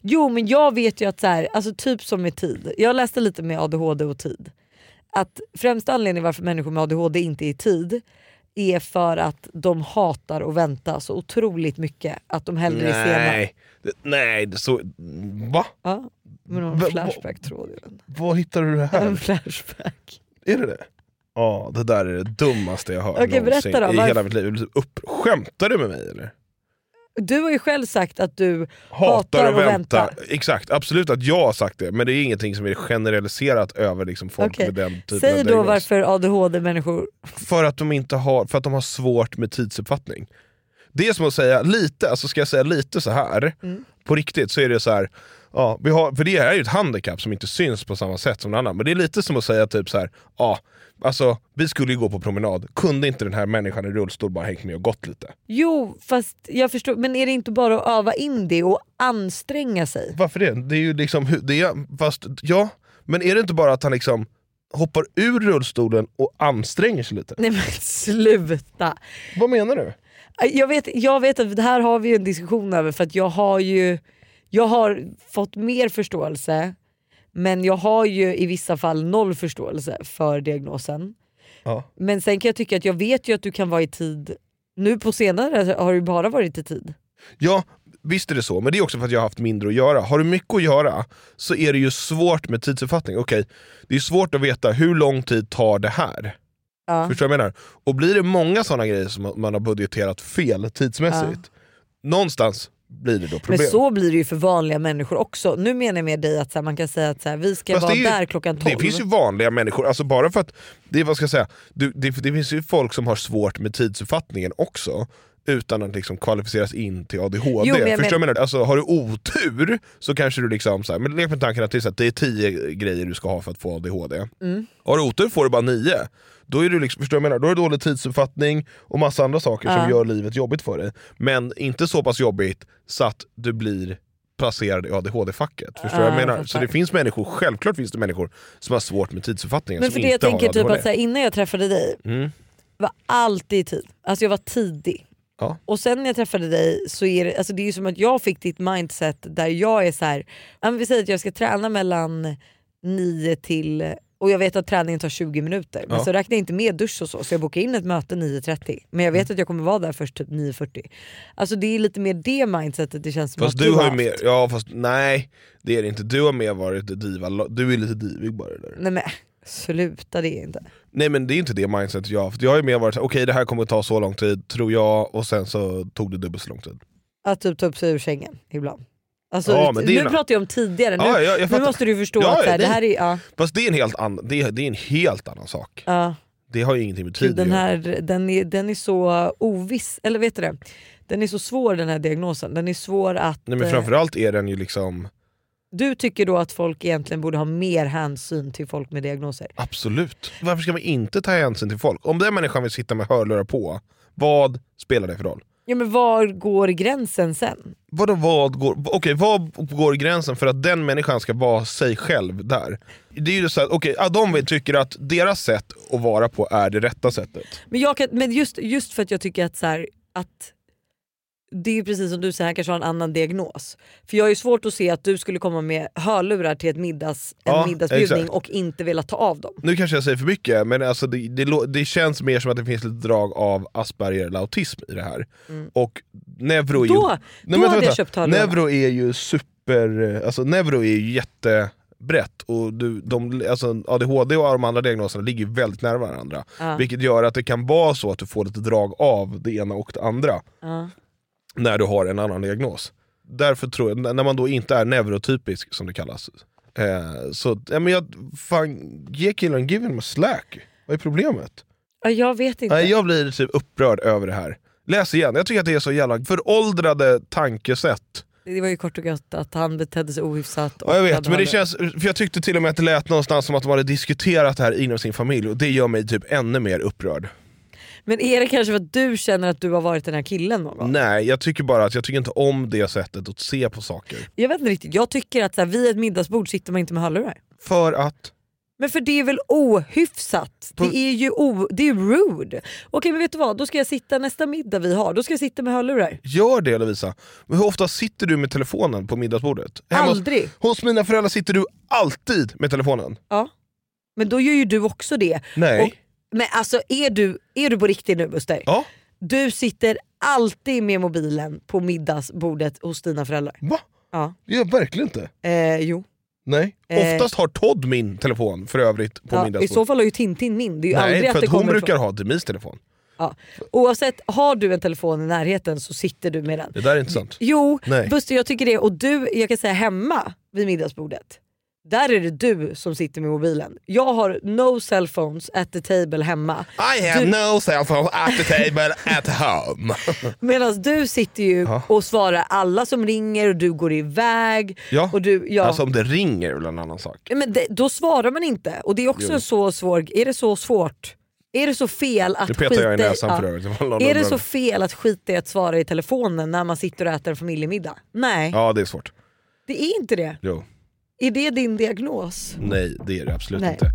Jo men jag vet ju att så här, alltså typ som med tid, jag läste lite med ADHD och tid. Att främsta anledningen varför människor med ADHD inte är i tid är för att de hatar att vänta så otroligt mycket att de hellre är sena. Nej, det- nej, det- så... Va? Ja, men någon Va- va- flashback-tråd. i den. Var hittar du det här? En flashback. Är det det? Ja, det där är det dummaste jag har hört Okej, berätta någonsin då, i varför- hela mitt liv. Jag blir typ Upp... Skämtar du med mig eller? Du har ju själv sagt att du Hatar hatar att att vänta. vänta. Exakt, absolut att jag har sagt det. Men det är ingenting som är generaliserat över liksom folk Okej. med den typen Säg av då diagnos. varför ADHD-människor... För att, de inte har, för att de har svårt med tidsuppfattning. Det är som att säga lite, alltså ska jag säga lite så här på riktigt så är det så här, ja, vi har, för det här är ju ett handikapp som inte syns på samma sätt som någon annan. Men det är lite som att säga typ så här, ja, alltså vi skulle ju gå på promenad, kunde inte den här människan i rullstol bara hängt med och gått lite? Jo, fast jag förstår. Men är det inte bara att öva in det och anstränga sig? Varför det? Det är ju liksom, hu- det är, fast ja, men är det inte bara att han liksom hoppar ur rullstolen och anstränger sig lite? Nej men sluta! Vad menar du? Jag vet, jag vet att det här har vi ju en diskussion över för att jag har ju jag har fått mer förståelse men jag har ju i vissa fall noll förståelse för diagnosen. Ja. Men sen kan jag tycka att jag vet ju att du kan vara i tid. Nu på senare har du bara varit i tid. Ja, visst är det så. Men det är också för att jag har haft mindre att göra. Har du mycket att göra så är det ju svårt med tidsuppfattning. Okej, det är svårt att veta hur lång tid tar det här? Ja. Förstår du vad jag menar? Och blir det många sådana grejer som man har budgeterat fel tidsmässigt, någonstans blir det då Men problem. så blir det ju för vanliga människor också. Nu menar jag med dig att så här, man kan säga att så här, vi ska Fast vara det är ju- där klockan 12. Det finns ju vanliga människor, alltså bara för att, det, är vad ska jag säga, du, det, det finns ju folk som har svårt med tidsuppfattningen också utan att liksom kvalificeras in till ADHD. Jo, men jag Förstår du vad men- jag menar? Alltså, har du otur så kanske du liksom, så här, men lek med tanken att det är, så här, det är tio grejer du ska ha för att få ADHD. Mm. Har du otur får du bara nio. Då är du liksom, förstår du vad jag menar? Då har du dålig tidsuppfattning och massa andra saker Ja. som gör livet jobbigt för dig. Men inte så pass jobbigt så att du blir placerad i ADHD-facket. Förstår du Ja, vad jag jag menar? Så fattar. det finns människor, självklart finns det människor som har svårt med tidsuppfattningen Men som för det jag inte tänker har typ ADHD. att så här, innan jag träffade dig mm. var alltid i tid. Alltså jag var tidig. Ja. Och sen när jag träffade dig så är det, alltså det är ju som att jag fick ditt mindset där jag är så här, ja, men vi säger att jag ska träna mellan 9 till, och jag vet att träningen tar 20 minuter, men Ja. så räknar jag inte med dusch och så, så jag bokar in ett möte 9.30. Men jag vet Mm. att jag kommer vara där först typ 9.40. Alltså det är lite mer det mindsetet det känns som Fast att du har ju haft. mer, ja fast nej det är det inte. Du har mer varit diva, du är lite divig bara där. Nej men sluta det är inte. Nej men det är inte det mindsetet jag har haft. Jag har ju mer varit såhär, okej det här kommer att ta så lång tid, tror jag, och sen så tog det dubbelt så lång tid. Att typ ta upp sig ur sängen ibland. Alltså, Ja, men det är nu en- pratar jag om tidigare, nu, Ja, ja, jag nu fattar. måste du förstå Ja, att så ja, här, det nej. här är... Ja, Fast det är en helt, an- det är, det är en helt annan sak. ja. Det har ju ingenting med tid Gud, att den, göra. här, den, är, den är så oviss, eller vet du det? Den är så svår den här diagnosen. Den är svår att... Nej men eh, framförallt är den ju liksom, Du tycker då att folk egentligen borde ha mer hänsyn till folk med diagnoser. absolut. Varför ska man inte ta hänsyn till folk? Om den människan vill sitta med hörlurar på, vad spelar det för roll? Ja men var går gränsen sen? Vadå vad går, okej, vad går gränsen för att den människan ska vara sig själv där? Det är ju så att, okej, ja, de vill- tycker att deras sätt att vara på är det rätta sättet. Men, jag kan, men just, just för att jag tycker att, så här, att det är ju precis som du säger, han kanske har en annan diagnos. För jag har ju svårt att se att du skulle komma med hörlurar till ett middags, en Ja, middagsbjudning exakt. och inte vilja ta av dem. Nu kanske jag säger för mycket, men alltså det, det, lå- det känns mer som att det finns lite drag av Asperger eller autism i det här. Och neuro är ju... Mm. Då- då men hade jag vänta. köpt hörlurarna. Neuro är ju super... Alltså neuro är ju jättebrett och du, de, alltså ADHD och de andra diagnoserna ligger ju väldigt nära varandra. Ja. Vilket gör att det kan vara så att du får lite drag av det ena och det andra Ja. när du har en annan diagnos. Därför tror jag, när man då inte är neurotypisk som det kallas, eh, så ja, men jag, fan, ge killen, give him a slack. Vad är problemet? Ja, jag vet inte. Nej, jag blir typ upprörd över det här. Läs igen, jag tycker att det är så jävla föråldrade tankesätt. Det var ju kort och gott att han betedde sig ohyfsat. och Ja, jag vet, hade men det hörlurar. känns, för jag tyckte till och med att det lät någonstans som att de hade diskuterat det här inom sin familj och det gör mig typ ännu mer upprörd. Men är det kanske för att du känner att du har varit den här killen någon gång? Nej, jag tycker bara att jag tycker inte om det sättet att se på saker. Jag vet inte riktigt, jag tycker att så här, vid ett middagsbord sitter man inte med hörlurar. För att? Men för det är väl ohyfsat? Det är ju o, det är rude. Okej men vet du vad, då ska jag sitta nästa middag vi har, då ska jag sitta med hörlurar. Gör det Lovisa. Men hur ofta sitter du med telefonen på middagsbordet? Hemma Aldrig. Hos, hos mina föräldrar sitter du alltid med telefonen. Ja. Men då gör ju du också det. Nej. Och, Men alltså är du, är du på riktigt nu Buster? Ja. Du sitter alltid med mobilen på middagsbordet hos dina föräldrar. Va? Ja. Det gör jag verkligen inte. Eh, jo. Nej. Eh. Oftast har Todd min telefon för övrigt på ja, I middagsbordet. så fall har ju Tintin min. Det är ju aldrig Nej, att för det att hon kommer brukar från- ha Demis telefon. Ja. Oavsett, har du en telefon i närheten så sitter du med den. Det där är inte sant. Jo, Nej. Buster jag tycker det. Och du, jag kan säga hemma vid middagsbordet, där är det du som sitter med mobilen. Jag har no cell phones at the table hemma. I have Du- no cell phone at the table at home. Medan du sitter ju Ja. och svarar alla som ringer och du går iväg. ja. Och du, ja. Alltså om det ringer är väl en annan sak. Men det, då svarar man inte. Och det är också Jo. en så svår... Är det så svårt? Är det så fel att Nu petar jag i skita näsan ja. för övrigt. Det var någon Är det annan. så fel att skita i att svara i telefonen när man sitter och äter en familjemiddag? Nej, Ja det är svårt. det är inte det. Jo. Är det din diagnos? Nej det är det absolut Nej. inte.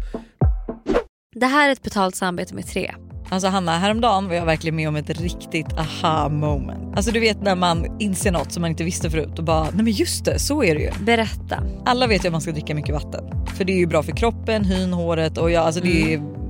Det här är ett betalt samarbete med tre. Alltså Hanna, häromdagen var jag verkligen med om ett riktigt aha moment. Alltså du vet när man inser något som man inte visste förut och bara, nej men just det, så är det ju. Berätta. Alla vet ju att man ska dricka mycket vatten. För det är ju bra för kroppen, hyn, håret och ja, alltså det, är,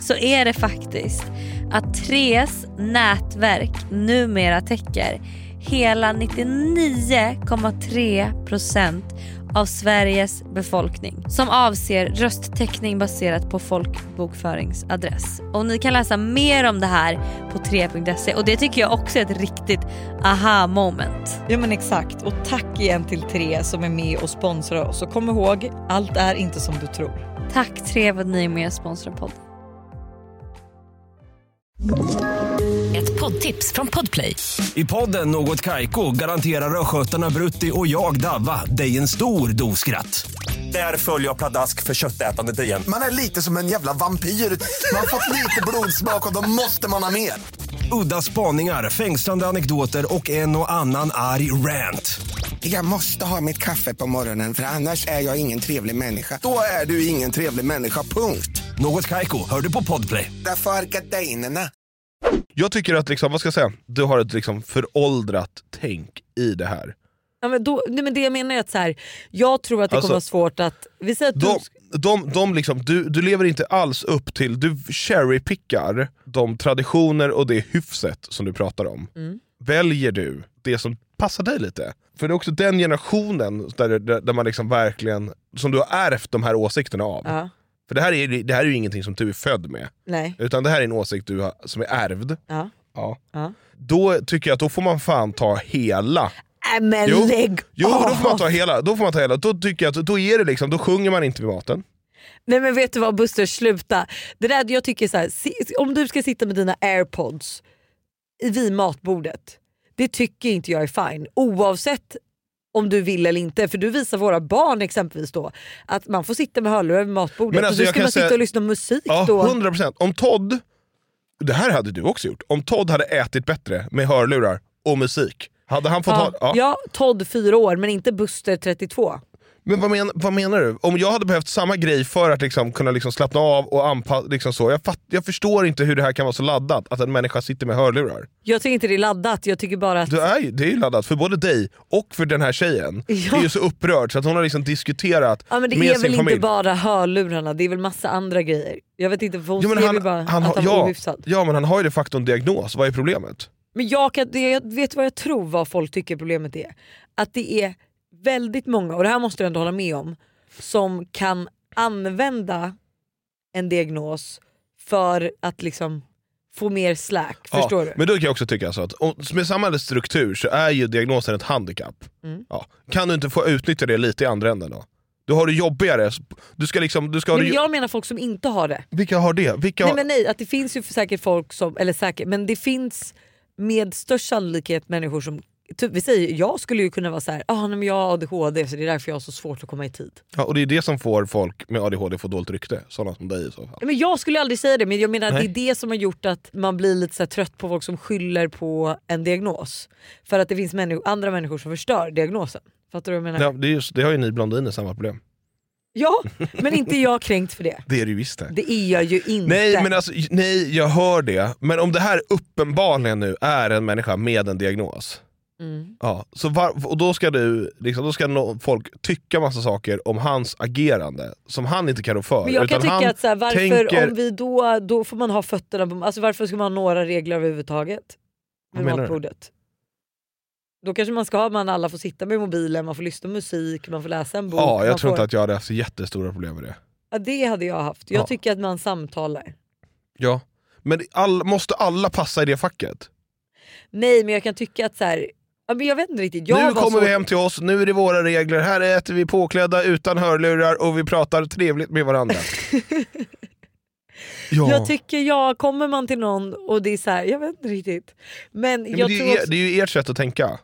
så är det faktiskt att Tres nätverk numera täcker hela 99,3% av Sveriges befolkning som avser rösttäckning baserat på folkbokföringsadress. Och ni kan läsa mer om det här på 3.se och det tycker jag också är ett riktigt aha moment. Ja men exakt och tack igen till Tre som är med och sponsrar oss och kom ihåg, allt är inte som du tror. Tack Tre för att ni är med och sponsrar podden. Ett poddtips från Podplay. I podden Något Kaiko garanterar östgötarna Brutti och jag, Davva, dig en stor dos skratt. Där följer jag pladask för köttätandet igen. Man är lite som en jävla vampyr. Man har fått lite blodsmak och då måste man ha mer. Udda spaningar, fängslande anekdoter och en och annan arg rant. Jag måste ha mitt kaffe på morgonen för annars är jag ingen trevlig människa. Då är du ingen trevlig människa, punkt. Något Kaiko, hör du på podplay. Därför är gardinerna. Jag tycker att liksom, vad ska jag säga, du har ett liksom föråldrat tänk i det här. Ja, men då, nej, men det jag menar är att så här, jag tror att det Alltså, kommer vara svårt att... Vi säger att De, du, de, de liksom, du, du lever inte alls upp till, du cherrypickar de traditioner och det hyfset som du pratar om. Mm. Väljer du det som passar dig lite? För det är också den generationen där, där, där man liksom verkligen, som du har ärvt de här åsikterna av. ja, För det här, är, det här är ju ingenting som du är född med, nej, utan det här är en åsikt du har, som är ärvd. ja. Ja. Ja. Då tycker jag att då får man fan ta hela Äh, men Jo. lägg Jo, av! då får man ta hela. Då, får man ta hela. då tycker jag att då är det liksom, då sjunger man inte vid maten. Nej men vet du vad Buster, sluta. Det där jag tycker så här, si- om du ska sitta med dina airpods i- vid matbordet, det tycker inte jag är fine. Oavsett om du vill eller inte. För du visar våra barn exempelvis då att man får sitta med hörlurar vid matbordet Men alltså, och då jag ska kan man sitta säga- och lyssna på musik Ja, då. 100%. Om Todd, det här hade du också gjort, om Todd hade ätit bättre med hörlurar och musik, hade han fått Ja, ha... Ja. ja, Todd fyra år men inte Buster 32. Men vad, men, vad menar du? Om jag hade behövt samma grej för att liksom, kunna liksom slappna av och anpassa, liksom så. Jag, fatt, jag förstår inte hur det här kan vara så laddat, att en människa sitter med hörlurar. Jag tycker inte det är laddat, jag tycker bara att... Det är, ju- det är ju laddat för både dig och för den här tjejen. Ja. Det är ju så upprörd så att hon har liksom diskuterat Ja, men det med är sin väl familj. inte bara hörlurarna, det är väl massa andra grejer. Jag vet inte, för hon Jo, men skrev ju han, bara han, att har- han var ja, ohyfsad. ja men han har ju de facto en diagnos, vad är problemet? Men jag, kan, det, jag vet vad jag tror vad folk tycker problemet är. Att det är väldigt många, och det här måste du ändå hålla med om, som kan använda en diagnos för att liksom få mer slack. Förstår ja, du? Men då kan jag också tycka så att om, med samhällets struktur så är ju diagnosen ett handikapp. Mm. Ja. Kan du inte få utnyttja det lite i andra änden då? Du har det jobbigare, du ska liksom, du ska ha Nej, det, men jag menar folk som inte har det. vilka har det? Vilka Nej har, men nej, att det finns ju säkert folk som, eller säkert, men det finns med största sannolikhet människor som typ, vi säger, jag skulle ju kunna vara så här, ah, nej, men jag har ADHD så det är därför jag har så svårt att komma i tid. Ja, och det är det som får folk med ADHD få dåligt rykte. Sådana som dig i så fall. Nej, Men jag skulle aldrig säga det men jag menar att Nej. det är det som har gjort att man blir lite så här trött på folk som skyller på en diagnos. För att det finns människor, andra människor som förstör diagnosen. Fattar du vad jag menar? Ja, det, är just, det har ju ni blondiner samma problem. Ja, men inte jag kränkt för det. Det är det ju visst det. Det är jag ju inte. Nej, men alltså, nej, jag hör det. Men om det här uppenbarligen nu är en människa med en diagnos. Mm. Ja, så var, och då ska, du, liksom, då ska nå- folk tycka massa saker om hans agerande som han inte kan rå för. Men jag kan utan tycka han att så här, varför tänker- om vi då, då får man ha fötterna på, alltså varför ska man ha några regler överhuvudtaget Vad vid menar du? matbordet? Då kanske man ska ha, man alla får sitta med mobilen, man får lyssna på musik, man får läsa en bok. Ja, jag Oh, man får... tror inte att jag hade haft jättestora problem med det. ja, det hade jag haft. Jag Ja. tycker att man samtalar. Ja. Men all, måste alla passa i det facket? Nej men jag kan tycka att så här, ja, men jag vet inte riktigt. Jag nu var kommer så... vi hem till oss, nu är det våra regler, här äter vi påklädda utan hörlurar och vi pratar trevligt med varandra. ja. Jag tycker ja, kommer man till någon och det är så här, jag vet inte riktigt. Men Nej, men jag det, är tror ju, er- också, det är ju ert sätt att tänka.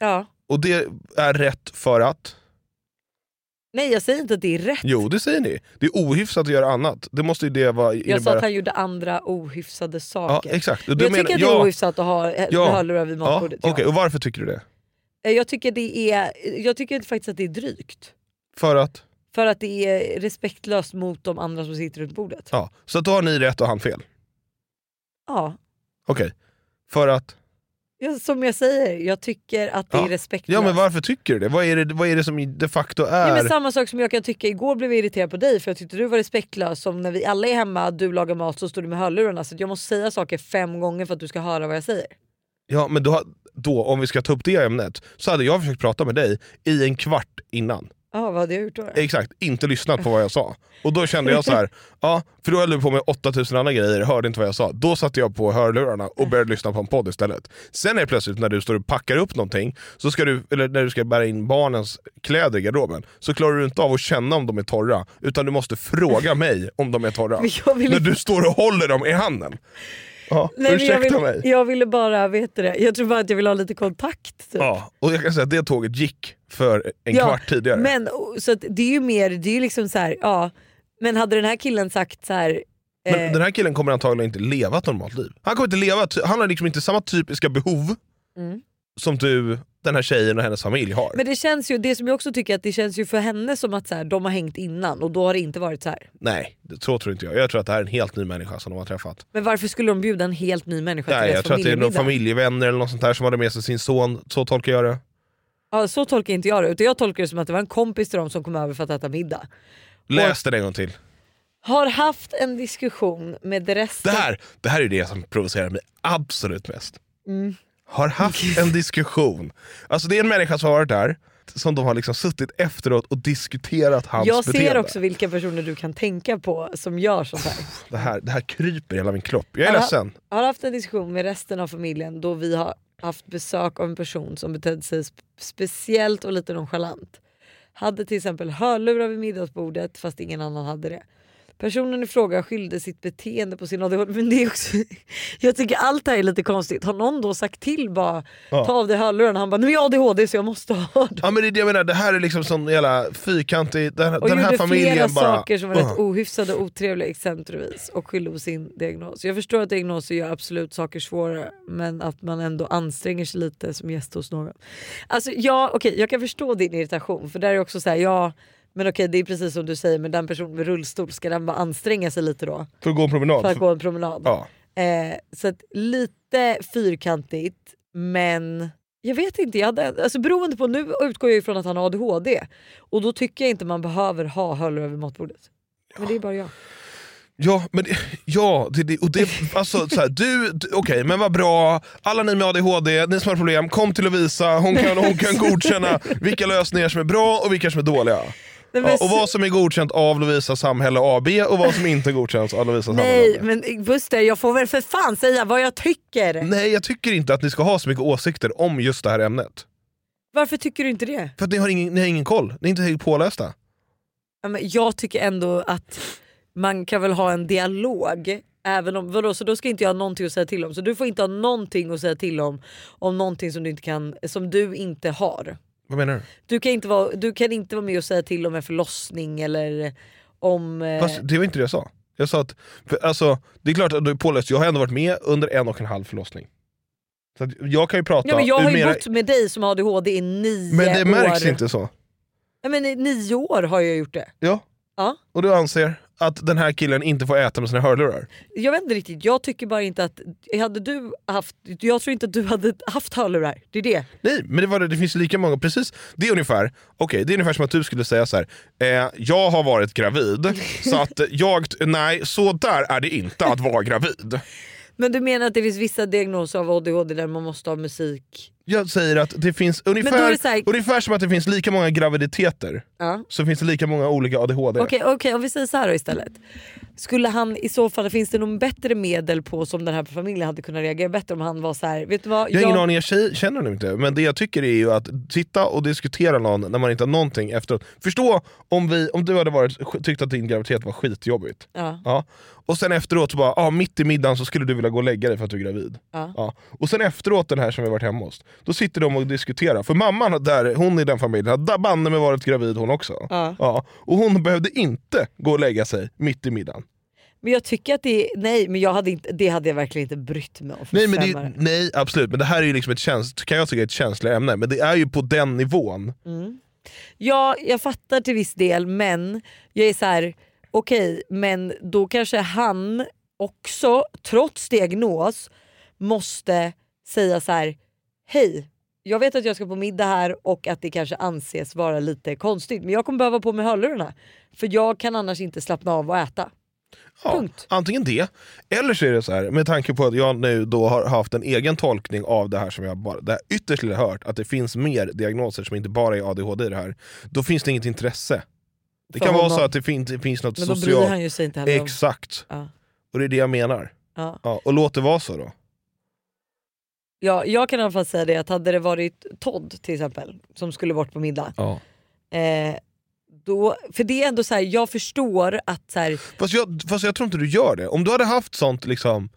ja. Och det är rätt för att... Nej jag säger inte att det är rätt. Jo, det säger ni. Det är ohyfsat att göra annat. Det måste ju det vara... Jag sa att han gjorde andra ohyfsade Ja, saker. exakt. Och Men det jag menar- tycker att det är ohyfsat att ha eh, Ja. hörlurar vid Ja, matbordet. ja. Okej, och varför tycker du det? Eh, Jag tycker, det är, jag tycker faktiskt att det är drygt. För att? För att det är respektlöst mot de andra som sitter runt bordet. Ja. Så att då har ni rätt och han fel? Ja. Okej. För att? Jag, som jag säger, jag tycker att det Ja. är respektlöst. Ja men varför tycker du det? Vad är det, vad är det som de facto är... Ja, men samma sak som jag kan tycka, igår blev jag irriterad på dig för jag tyckte du var respektlös som när vi alla är hemma, du lagar mat så står du med hörlurarna så att jag måste säga saker fem gånger för att du ska höra vad jag säger. Ja, men då, då, om vi ska ta upp det ämnet, så hade jag försökt prata med dig i en kvart innan. Ja, vad hade jag gjort då? då? Exakt, inte lyssnat på vad jag sa. Och då kände jag så här, ja, för då höll du på med 8000 andra grejer, hörde inte vad jag sa. Då satte jag på hörlurarna och började lyssna på en podd istället. Sen är det plötsligt när du står och packar upp någonting, så ska du, eller när du ska bära in barnens kläder i garderoben, så klarar du inte av att känna om de är torra, utan du måste fråga mig om de är torra. Men jag vill När inte- du står och håller dem i handen. Ja, men ursäkta jag, vill, mig. jag ville bara, vet du det, jag tror bara att jag vill ha lite kontakt. Typ. Ja, och jag kan säga att det tåget gick för en Ja, kvart tidigare. Men, och- så att det är ju mer, det är ju liksom så här, ja. Men hade den här killen sagt så här, Men eh, den här killen kommer antagligen inte leva ett normalt liv. Han kommer inte leva, ett- han har liksom inte samma typiska behov Mm. som du, den här tjejen och hennes familj har. men det känns ju, det som jag också tycker att det känns ju för henne som att så här, de har hängt innan och då har det inte varit så här. Nej, det, så tror inte jag. Jag tror att det här är en helt ny människa som de har träffat. Men varför skulle de bjuda en helt ny människa till Nej, deras jag tror att det är någon familjemiddag? familjevänner eller något sånt där som hade med sig sin son. Så tolkar jag det. Ja, så tolkar inte jag det. Utan jag tolkar det som att det var en kompis till dem som kom över för att äta middag. Läs den en gång till. Har haft en diskussion med Det resten. här, det här är det som provocerar mig absolut mest. Mm. har haft en diskussion. Alltså det är en människa som har varit där, som de har liksom suttit efteråt och diskuterat hans Jag beteende. ser också vilka personer du kan tänka på som gör sånt här. Det här, det här kryper i hela min kropp. Jag är Har- ledsen. Har haft en diskussion med resten av familjen då vi har haft besök av en person som betedde sig sp- speciellt och lite nonchalant. Hade till exempel hörlurar vid middagsbordet fast ingen annan hade det. Personen i fråga skyllde sitt beteende på sin ADHD. Men det är också, jag tycker allt det här är lite konstigt. Har någon då sagt till bara Ja. ta av dig hörlurarna? Han bara nu är jag ADHD så jag måste ha dem. Ja, men det, är det, jag menar, det här är liksom sån jävla fyrkantig... Den, Och den här gjorde flera familjen bara... saker som var rätt Uh. ohyfsade och otrevliga exempelvis och skyllde på sin diagnos. Jag förstår att diagnoser gör absolut saker svårare men att man ändå anstränger sig lite som gäst hos någon. Alltså ja, okej jag kan förstå din irritation för där är också så här, ja men okej det är precis som du säger men den personen med rullstol ska den bara anstränga sig lite då För att gå en promenad. för att gå en promenad. Ja. Eh, så att lite fyrkantigt men jag vet inte, jag hade, alltså beroende på, nu utgår jag ju från att han har ADHD och då tycker jag inte man behöver ha hörlurar vid matbordet. Men det är bara jag. Ja, men det, ja, det, det, och det, alltså, så här, du, du okej men vad bra, alla ni med ADHD, ni som har problem, kom till Lovisa, hon kan, hon kan godkänna vilka lösningar som är bra och vilka som är dåliga. Nej, men Ja, och vad som är godkänt av Lovisa Samhälle AB och vad som inte godkänns av Lovisa Samhälle Nej AB. men Buster jag får väl för fan säga vad jag tycker! Nej, jag tycker inte att ni ska ha så mycket åsikter om just det här ämnet. Varför tycker du inte det? För att ni har ingen, ni har ingen koll, ni är inte helt pålästa. Ja, men jag tycker ändå att man kan väl ha en dialog Även om, vadå, så då ska inte jag ha någonting att säga till om. Så du får inte ha någonting att säga till om, om någonting som du inte, kan, som du inte har. Vad menar du? Du kan, inte vara, du kan inte vara med och säga till om en förlossning eller om... eh, Fast det var inte det jag sa. Jag sa att, för, alltså, det är klart att du är påläst, jag har ändå varit med under en och en halv förlossning. Så att jag kan ju prata ja, men jag ur har ju mera- bott med dig som har ADHD i nio Men det märks år. inte så. Nej, men I nio år har jag gjort det. Ja. Ja. Och du anser att den här killen inte får äta med sina hörlurar? Jag vet inte riktigt, jag tycker bara inte att... Hade du haft, jag tror inte att du hade haft hörlurar. Det är det. Nej, men det, var, det finns lika många, precis. Det är ungefär okej, det är ungefär som att du skulle säga så här. Eh, jag har varit gravid, så att jag, nej så där är det inte att vara gravid. Men du menar att det finns vissa diagnoser av ADHD där man måste ha musik? Jag säger att det finns Men då är ungefär, det så här- ungefär som att det finns lika många graviditeter Ja. så finns det lika många olika ADHD. Okej, okej, om vi säger så här då istället. Skulle han i så fall, finns det någon bättre medel på som den här familjen hade kunnat reagera bättre om han var så här, vet du vad? Jag har ingen aning, jag tjej- känner honom inte. Men det jag tycker är ju att sitta och diskutera någon när man inte har någonting efteråt. Förstå om, vi, om du hade varit, tyckt att din graviditet var skitjobbigt. Ja. Ja. Och sen efteråt så bara, ah, mitt i middagen så skulle du vilja gå och lägga dig för att du är gravid. Ja. Och sen efteråt den här som vi varit hemma hos, då sitter de och diskuterar. För mamman har där, hon i den familjen har där banne med varit gravid hon också. Ja. Och hon behövde inte gå och lägga sig mitt i middagen. Men jag tycker att det, nej men jag hade inte, det hade jag verkligen inte brytt mig om. för Nej, men fem det, öre. nej absolut, men det här är ju liksom ett, käns- kan jag tycka är ett känsligt ämne. Men det är ju på den nivån. Mm. Ja, jag fattar till viss del men jag är så här: okej men då kanske han också, trots diagnos, måste säga så här: hej jag vet att jag ska på middag här och att det kanske anses vara lite konstigt men jag kommer behöva på mig hörlurarna för jag kan annars inte slappna av och äta. Ja, antingen det, eller så är det så här, med tanke på att jag nu då har haft en egen tolkning av det här som jag bara, det här ytterst lilla hört, att det finns mer diagnoser som inte bara är ADHD i det här, då finns det inget intresse. Det För kan vara honom. så att det finns, det finns något Men då bryr socialt... han ju sig inte heller om. Exakt. Ja. Och det är det jag menar. Ja. Ja, och låt det vara så då. Ja, jag kan i alla fall säga det att hade det varit Todd till exempel som skulle bort på middag. Ja. Eh, då, för det är ändå så här, jag förstår att så här, Fast jag, fast jag tror inte du gör det. Om du hade haft sånt, liksom,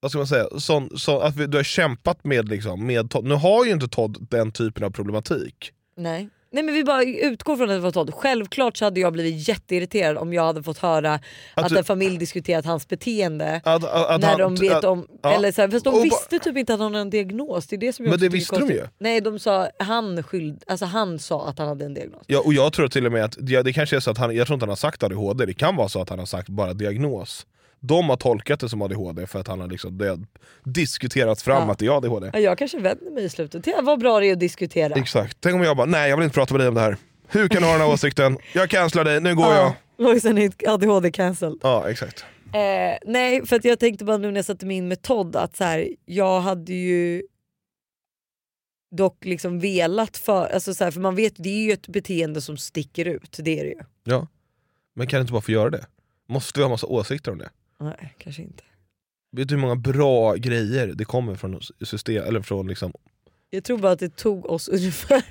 vad ska man säga, sån, så att vi- du har kämpat med, liksom, med Todd. Nu har ju inte Todd den typen av problematik. Nej. Nej men vi bara utgår från att det var Todd. Självklart så hade jag blivit jätteirriterad om jag hade fått höra att, du- en familj diskuterat hans beteende. Att, att, att när han- de vet att- om, ja. eller så här, fast de Och ba- visste typ inte att han hade en diagnos. Det är det som jag Men också det tycker är visste de konstigt. ju. Nej de sa, han, skyld, alltså han sa att han hade en diagnos. Ja, och jag tror till och med att, ja, det kanske är så att han, jag tror inte han har sagt ADHD, det kan vara så att han har sagt bara diagnos. De har tolkat det som ADHD för att han har liksom, det, har diskuterats fram Ja. att det är ADHD. Ja, jag kanske vänder mig i slutet till vad bra det är att diskutera. Exakt. Tänk om jag bara, nej jag vill inte prata med dig om det här. Hur kan du ha den här åsikten? Jag cancelar dig, nu går jag. Ja, Lojsan är ADHD cancelled. Ja, exakt. Eh, nej, för att jag tänkte bara nu när jag satte mig in med Todd att så här, jag hade ju dock liksom velat för, alltså så här, för man vet det är ju ett beteende som sticker ut. Det är det ju. Ja. Men kan du inte bara få göra det? Måste vi ha massa åsikter om det? Nej, kanske inte. Vet du hur många bra grejer det kommer från system, eller från liksom... Jag tror bara att det tog oss ungefär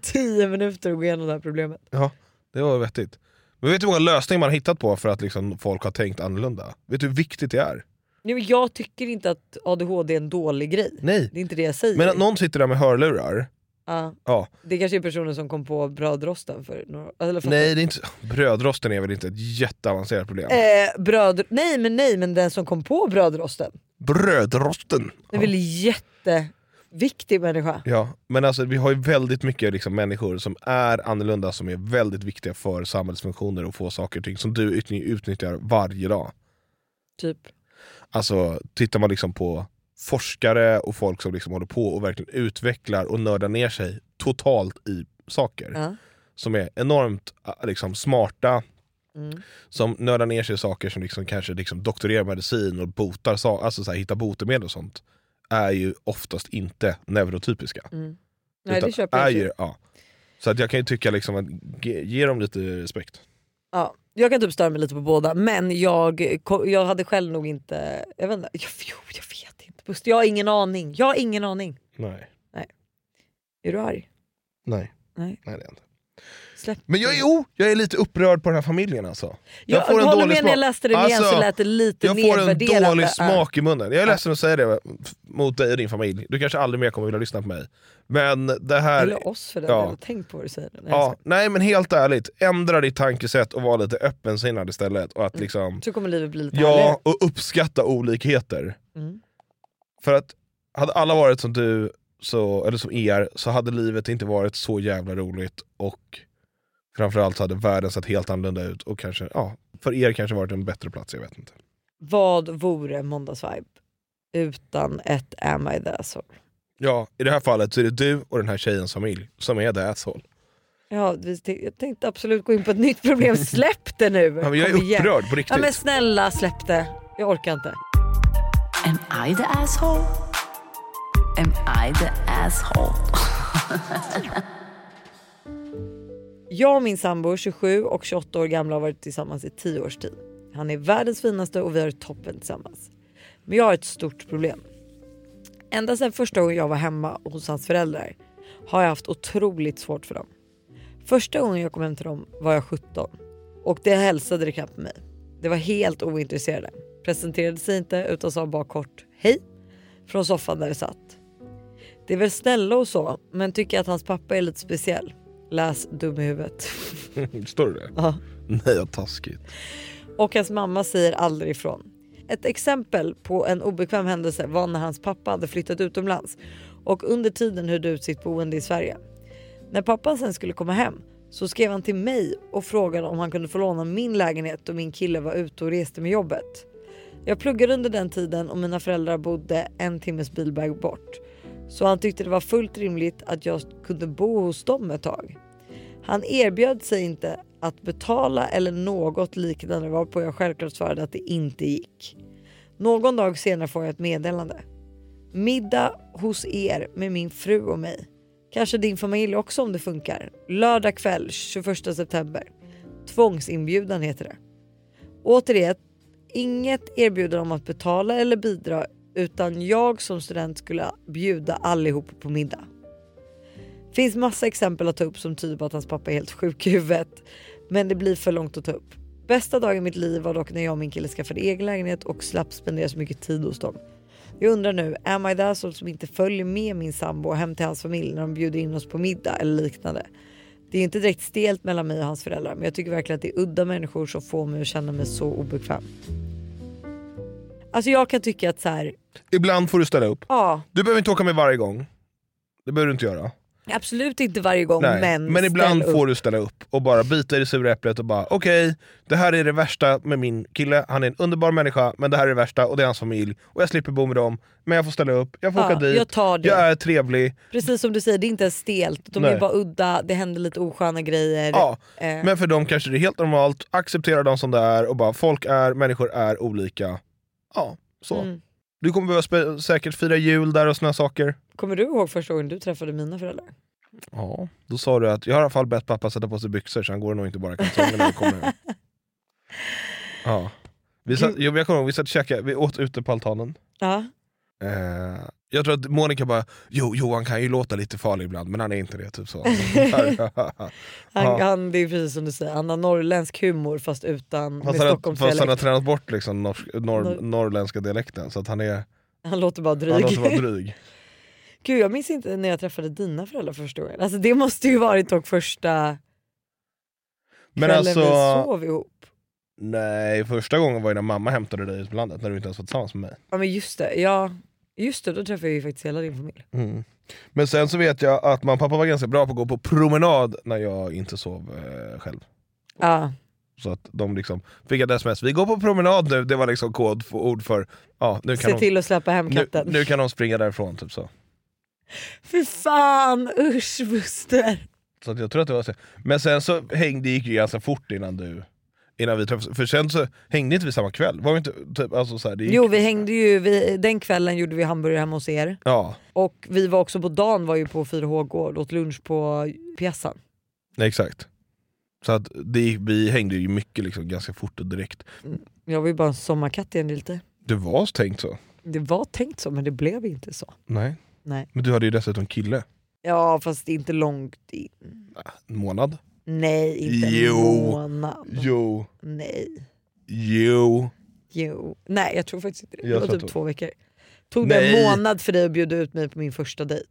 10 minuter att gå igenom det här problemet. Ja, det var vettigt. Men vet du hur många lösningar man har hittat på för att liksom folk har tänkt annorlunda? Vet du hur viktigt det är? Nej, men jag tycker inte att ADHD är en dålig grej. Nej. Det är inte det jag säger. Men att någon sitter där med hörlurar, ja, ja. det kanske är personen som kom på brödrosten för några... Eller fattar Nej, det är inte, brödrosten är väl inte ett jätteavancerat problem? Eh, bröd, nej men nej men den som kom på brödrosten. Brödrosten! Det är väl en jätteviktig människa. Ja, men alltså, vi har ju väldigt mycket liksom, människor som är annorlunda, som är väldigt viktiga för samhällsfunktioner och få saker och ting som du utny- utnyttjar varje dag. Typ. Alltså tittar man liksom på forskare och folk som liksom håller på och verkligen utvecklar och nördar ner sig totalt i saker. Ja. Som är enormt äh, liksom, smarta, Mm. som nördar ner sig i saker som liksom, kanske liksom, doktorerar medicin och botar, sa- alltså så här, hittar botemedel och sånt. Är ju oftast inte neurotypiska. Mm. Nej Utan det köper jag. är inte. ju, ja. Så att jag kan ju tycka liksom att ge, ge dem lite respekt. Ja, jag kan typ störa mig lite på båda men jag, ko- jag hade själv nog inte, jag vet inte, jag, jo, jag vet inte Buster, jag har ingen aning. Jag har ingen aning. Nej. Är du arg? Nej. Nej. Nej det är jag inte. Släpp Mm. Men jag är, oh, jag är lite upprörd på den här familjen alltså. Jag håller med, när jag läste det igen så lät det lite Jag får en nedvärderande. dålig Ja. smak i munnen. Jag är ledsen att säga det f- mot dig och din familj. Du kanske aldrig mer kommer vilja lyssna på mig. Men det här... Eller oss för den Ja. delen. Tänk på vad du säger. Nej, jag Ja, nej men helt ärligt, ändra ditt tankesätt och vara lite öppensinnad istället. Och att liksom, skojar. Så kommer livet bli lite härligare. ja, och uppskatta olikheter. Mm. För att hade alla varit som du, så, eller som er, så hade livet inte varit så jävla roligt och framförallt så hade världen sett helt annorlunda ut och kanske, ja, för er kanske varit en bättre plats, jag vet inte. Vad vore måndagsvibe utan ett am I the asshole? Ja, i det här fallet så är det du och den här tjejens familj som är the asshole. Ja, vi t- jag tänkte absolut gå in på ett nytt problem. Släpp det nu! Ja, men jag är Kom igen. upprörd typ. på riktigt. Ja, men snälla släpp det. Jag orkar inte. Am I the asshole? Am I the asshole? Jag och min sambo, 27 och 28 år gamla, har varit tillsammans i 10 års tid. Han är världens finaste och vi har det toppen tillsammans. Men jag har ett stort problem. Ända sedan första gången jag var hemma hos hans föräldrar har jag haft otroligt svårt för dem. Första gången jag kom hem till dem var jag 17 och det hälsade det knappt på mig. Det var helt ointresserade. Presenterade sig inte utan sa bara kort hej från soffan där vi satt. Det är väl snälla och så men tycker att hans pappa är lite speciell. Läs dum i huvudet. Står det det? Ja. Nej, vad taskigt. och hans mamma säger aldrig ifrån. Ett exempel på en obekväm händelse var när hans pappa hade flyttat utomlands och under tiden hyrde ut sitt boende i Sverige. När pappan sen skulle komma hem så skrev han till mig och frågade om han kunde få låna min lägenhet då min kille var ute och reste med jobbet. Jag pluggade under den tiden och mina föräldrar bodde en timmes bilväg bort. Så han tyckte det var fullt rimligt att jag kunde bo hos dem ett tag. Han erbjöd sig inte att betala eller något liknande varpå jag självklart svarade att det inte gick. Någon dag senare får jag ett meddelande. Middag hos er med min fru och mig. Kanske din familj också om det funkar. Lördag kväll 21 september. Tvångsinbjudan heter det. Återigen, inget erbjudande om att betala eller bidra utan jag som student skulle bjuda allihop på middag. Finns massa exempel att ta upp som tyder på att hans pappa är helt sjuk i huvudet. Men det blir för långt att ta upp. Bästa dagen i mitt liv var dock när jag och min kille skaffade egen lägenhet och slapp spendera så mycket tid hos dem. Jag undrar nu, am I the asshole som inte följer med min sambo hem till hans familj när de bjuder in oss på middag eller liknande? Det är inte direkt stelt mellan mig och hans föräldrar men jag tycker verkligen att det är udda människor som får mig att känna mig så obekväm. Alltså jag kan tycka att så här, Ibland får du ställa upp. ja Du behöver inte åka med varje gång. Det behöver du inte göra. absolut inte varje gång Nej, men men ibland ställ upp. får du ställa upp och bara bita i det sura äpplet och bara okej, det här är det värsta med min kille, han är en underbar människa, men det här är det värsta och det är hans familj och jag slipper bo med dem, men jag får ställa upp, jag får Ja, åka dit, jag tar det. jag är trevlig. Precis som du säger, det är inte ens stelt. De Nej. är bara udda, det händer lite osköna grejer. Ja, Eh, Men för dem kanske det är helt normalt, acceptera dem som det är och bara folk är, människor är olika. Ja, så. Mm. Du kommer behöva spe- säkert fira jul där och såna saker. Kommer du ihåg första gången du träffade mina föräldrar? Ja, då sa du att jag har i alla fall bett pappa sätta på sig byxor så han går nog inte bara i kalsonger när vi kommer hem. Ja. Vi satt, jo, men jag kommer ihåg, vi satt och käkade, vi åt ute på altanen. Ja. Eh, jag tror att Monica bara, jo Johan kan ju låta lite farlig ibland men han är inte det. Typ så. Där. Han, Ja. han, det är precis som du säger, han har norrländsk humor fast utan fast, med han, har- fast han har Stockholmsdialekt. tränat bort liksom norsk, norr, Norr- norrländska dialekten så att han är Han låter bara dryg. han låter vara dryg. Gud jag minns inte när jag träffade dina föräldrar första gången. Alltså, det måste ju varit dock första Men kvällen alltså, vi sov ihop. nej första gången var ju när mamma hämtade dig ut på landet när du inte ens var tillsammans med mig. Ja men just det, ja, just det då träffade jag ju faktiskt hela din familj. Mm. Men sen så vet jag att mamma och pappa var ganska bra på att gå på promenad när jag inte sov eh, själv. Ja. Så att de liksom fick ett sms, vi går på promenad nu, det var liksom kod för ord för ja, nu, kan Se de, till att släppa hem nu, katten. nu kan de springa därifrån. Typ så. Fy fan usch Buster. Så att jag tror att det var så. Men sen så hängde, gick det ju ganska fort innan du Innan vi träffades, för sen så hängde inte vi samma kväll. Var vi inte, typ, alltså så här, det gick, Jo vi hängde ju, vi, den kvällen gjorde vi hamburgare hemma hos er. Ja, Och vi var också på dagen var ju på 4H-gård åt lunch på pjäsan. exakt. Så att det, vi hängde ju mycket liksom, ganska fort och direkt. Jag var ju bara en sommarkatt igen lite. Det var tänkt så. Det var tänkt så men det blev inte så. Nej. Nej. Men du hade ju dessutom kille. Ja fast inte långt in. En månad. Nej, inte en Jo. månad. Jo, Nej. jo. Jo. Nej, jag tror faktiskt inte det. Det Jag var tror typ att- två veckor. Tog det Nej. en månad för dig att bjuda ut mig på min första dejt?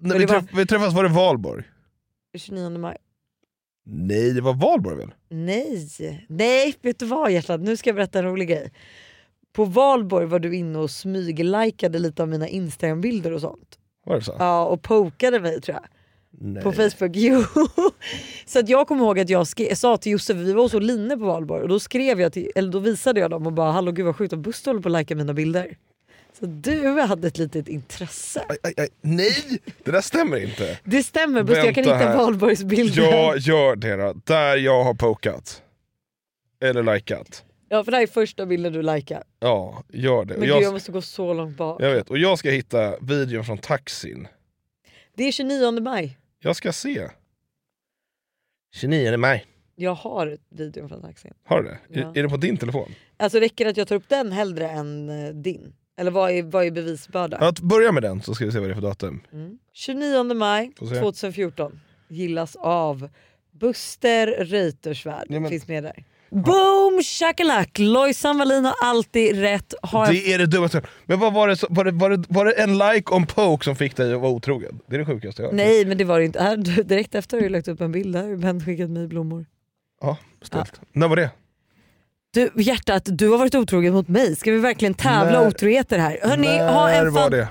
När Men vi, det var- träff- vi träffades var det Valborg? 29 maj. Nej, det var Valborg väl? Nej, nej vet du vad hjärtat? Nu ska jag berätta en rolig grej. På valborg var du inne och smyglikade lite av mina Instagram-bilder och sånt. Var det så? Ja, och pokade mig tror jag. Nej. På Facebook. Jo. Så att jag kommer ihåg att jag skre- sa till Josef, vi var hos Oline på valborg och då, skrev jag till, eller då visade jag dem och bara “Hallå gud vad sjukt, att Buster håller på att lika mina bilder”. Så du hade ett litet intresse. Aj, aj, aj. Nej, det där stämmer inte. Det stämmer Buster, jag kan Vänta hitta här. valborgsbilden. Jag gör det då. Där jag har pokat. Eller likat. Ja, för det här är första bilden du likade. Ja, gör det. Men Och gud, jag jag, måste gå så långt bak. jag vet. Och jag ska hitta videon från taxin. Det är 29 maj. Jag ska se. 29 maj. Jag har videon från taxin. Har du det? Ja. Är, är det på din telefon? Alltså räcker det att jag tar upp den hellre än eh, din? Eller vad är, vad är bevisbörda? Ja, att börja med den så ska vi se vad det är för datum. 29 maj Får se. 2014 gillas av Buster Reuterswärd. men- Finns med där. Boom shakalak! Lojsan Wallin har alltid rätt. Har jag... Det är det dummaste Men vad var det, så- var det, var det, var det en like on poke som fick dig att vara otrogen? Det är det sjukaste jag har hört. Nej men det var det inte. Här, du- direkt efter har du lagt upp en bild. Där har ju Ben skickat mig blommor. Ja, ställt. När var det? Du hjärtat, du har varit otrogen mot mig. Ska vi verkligen tävla När- otroheter här? Hörrni, När ha en var fan... det?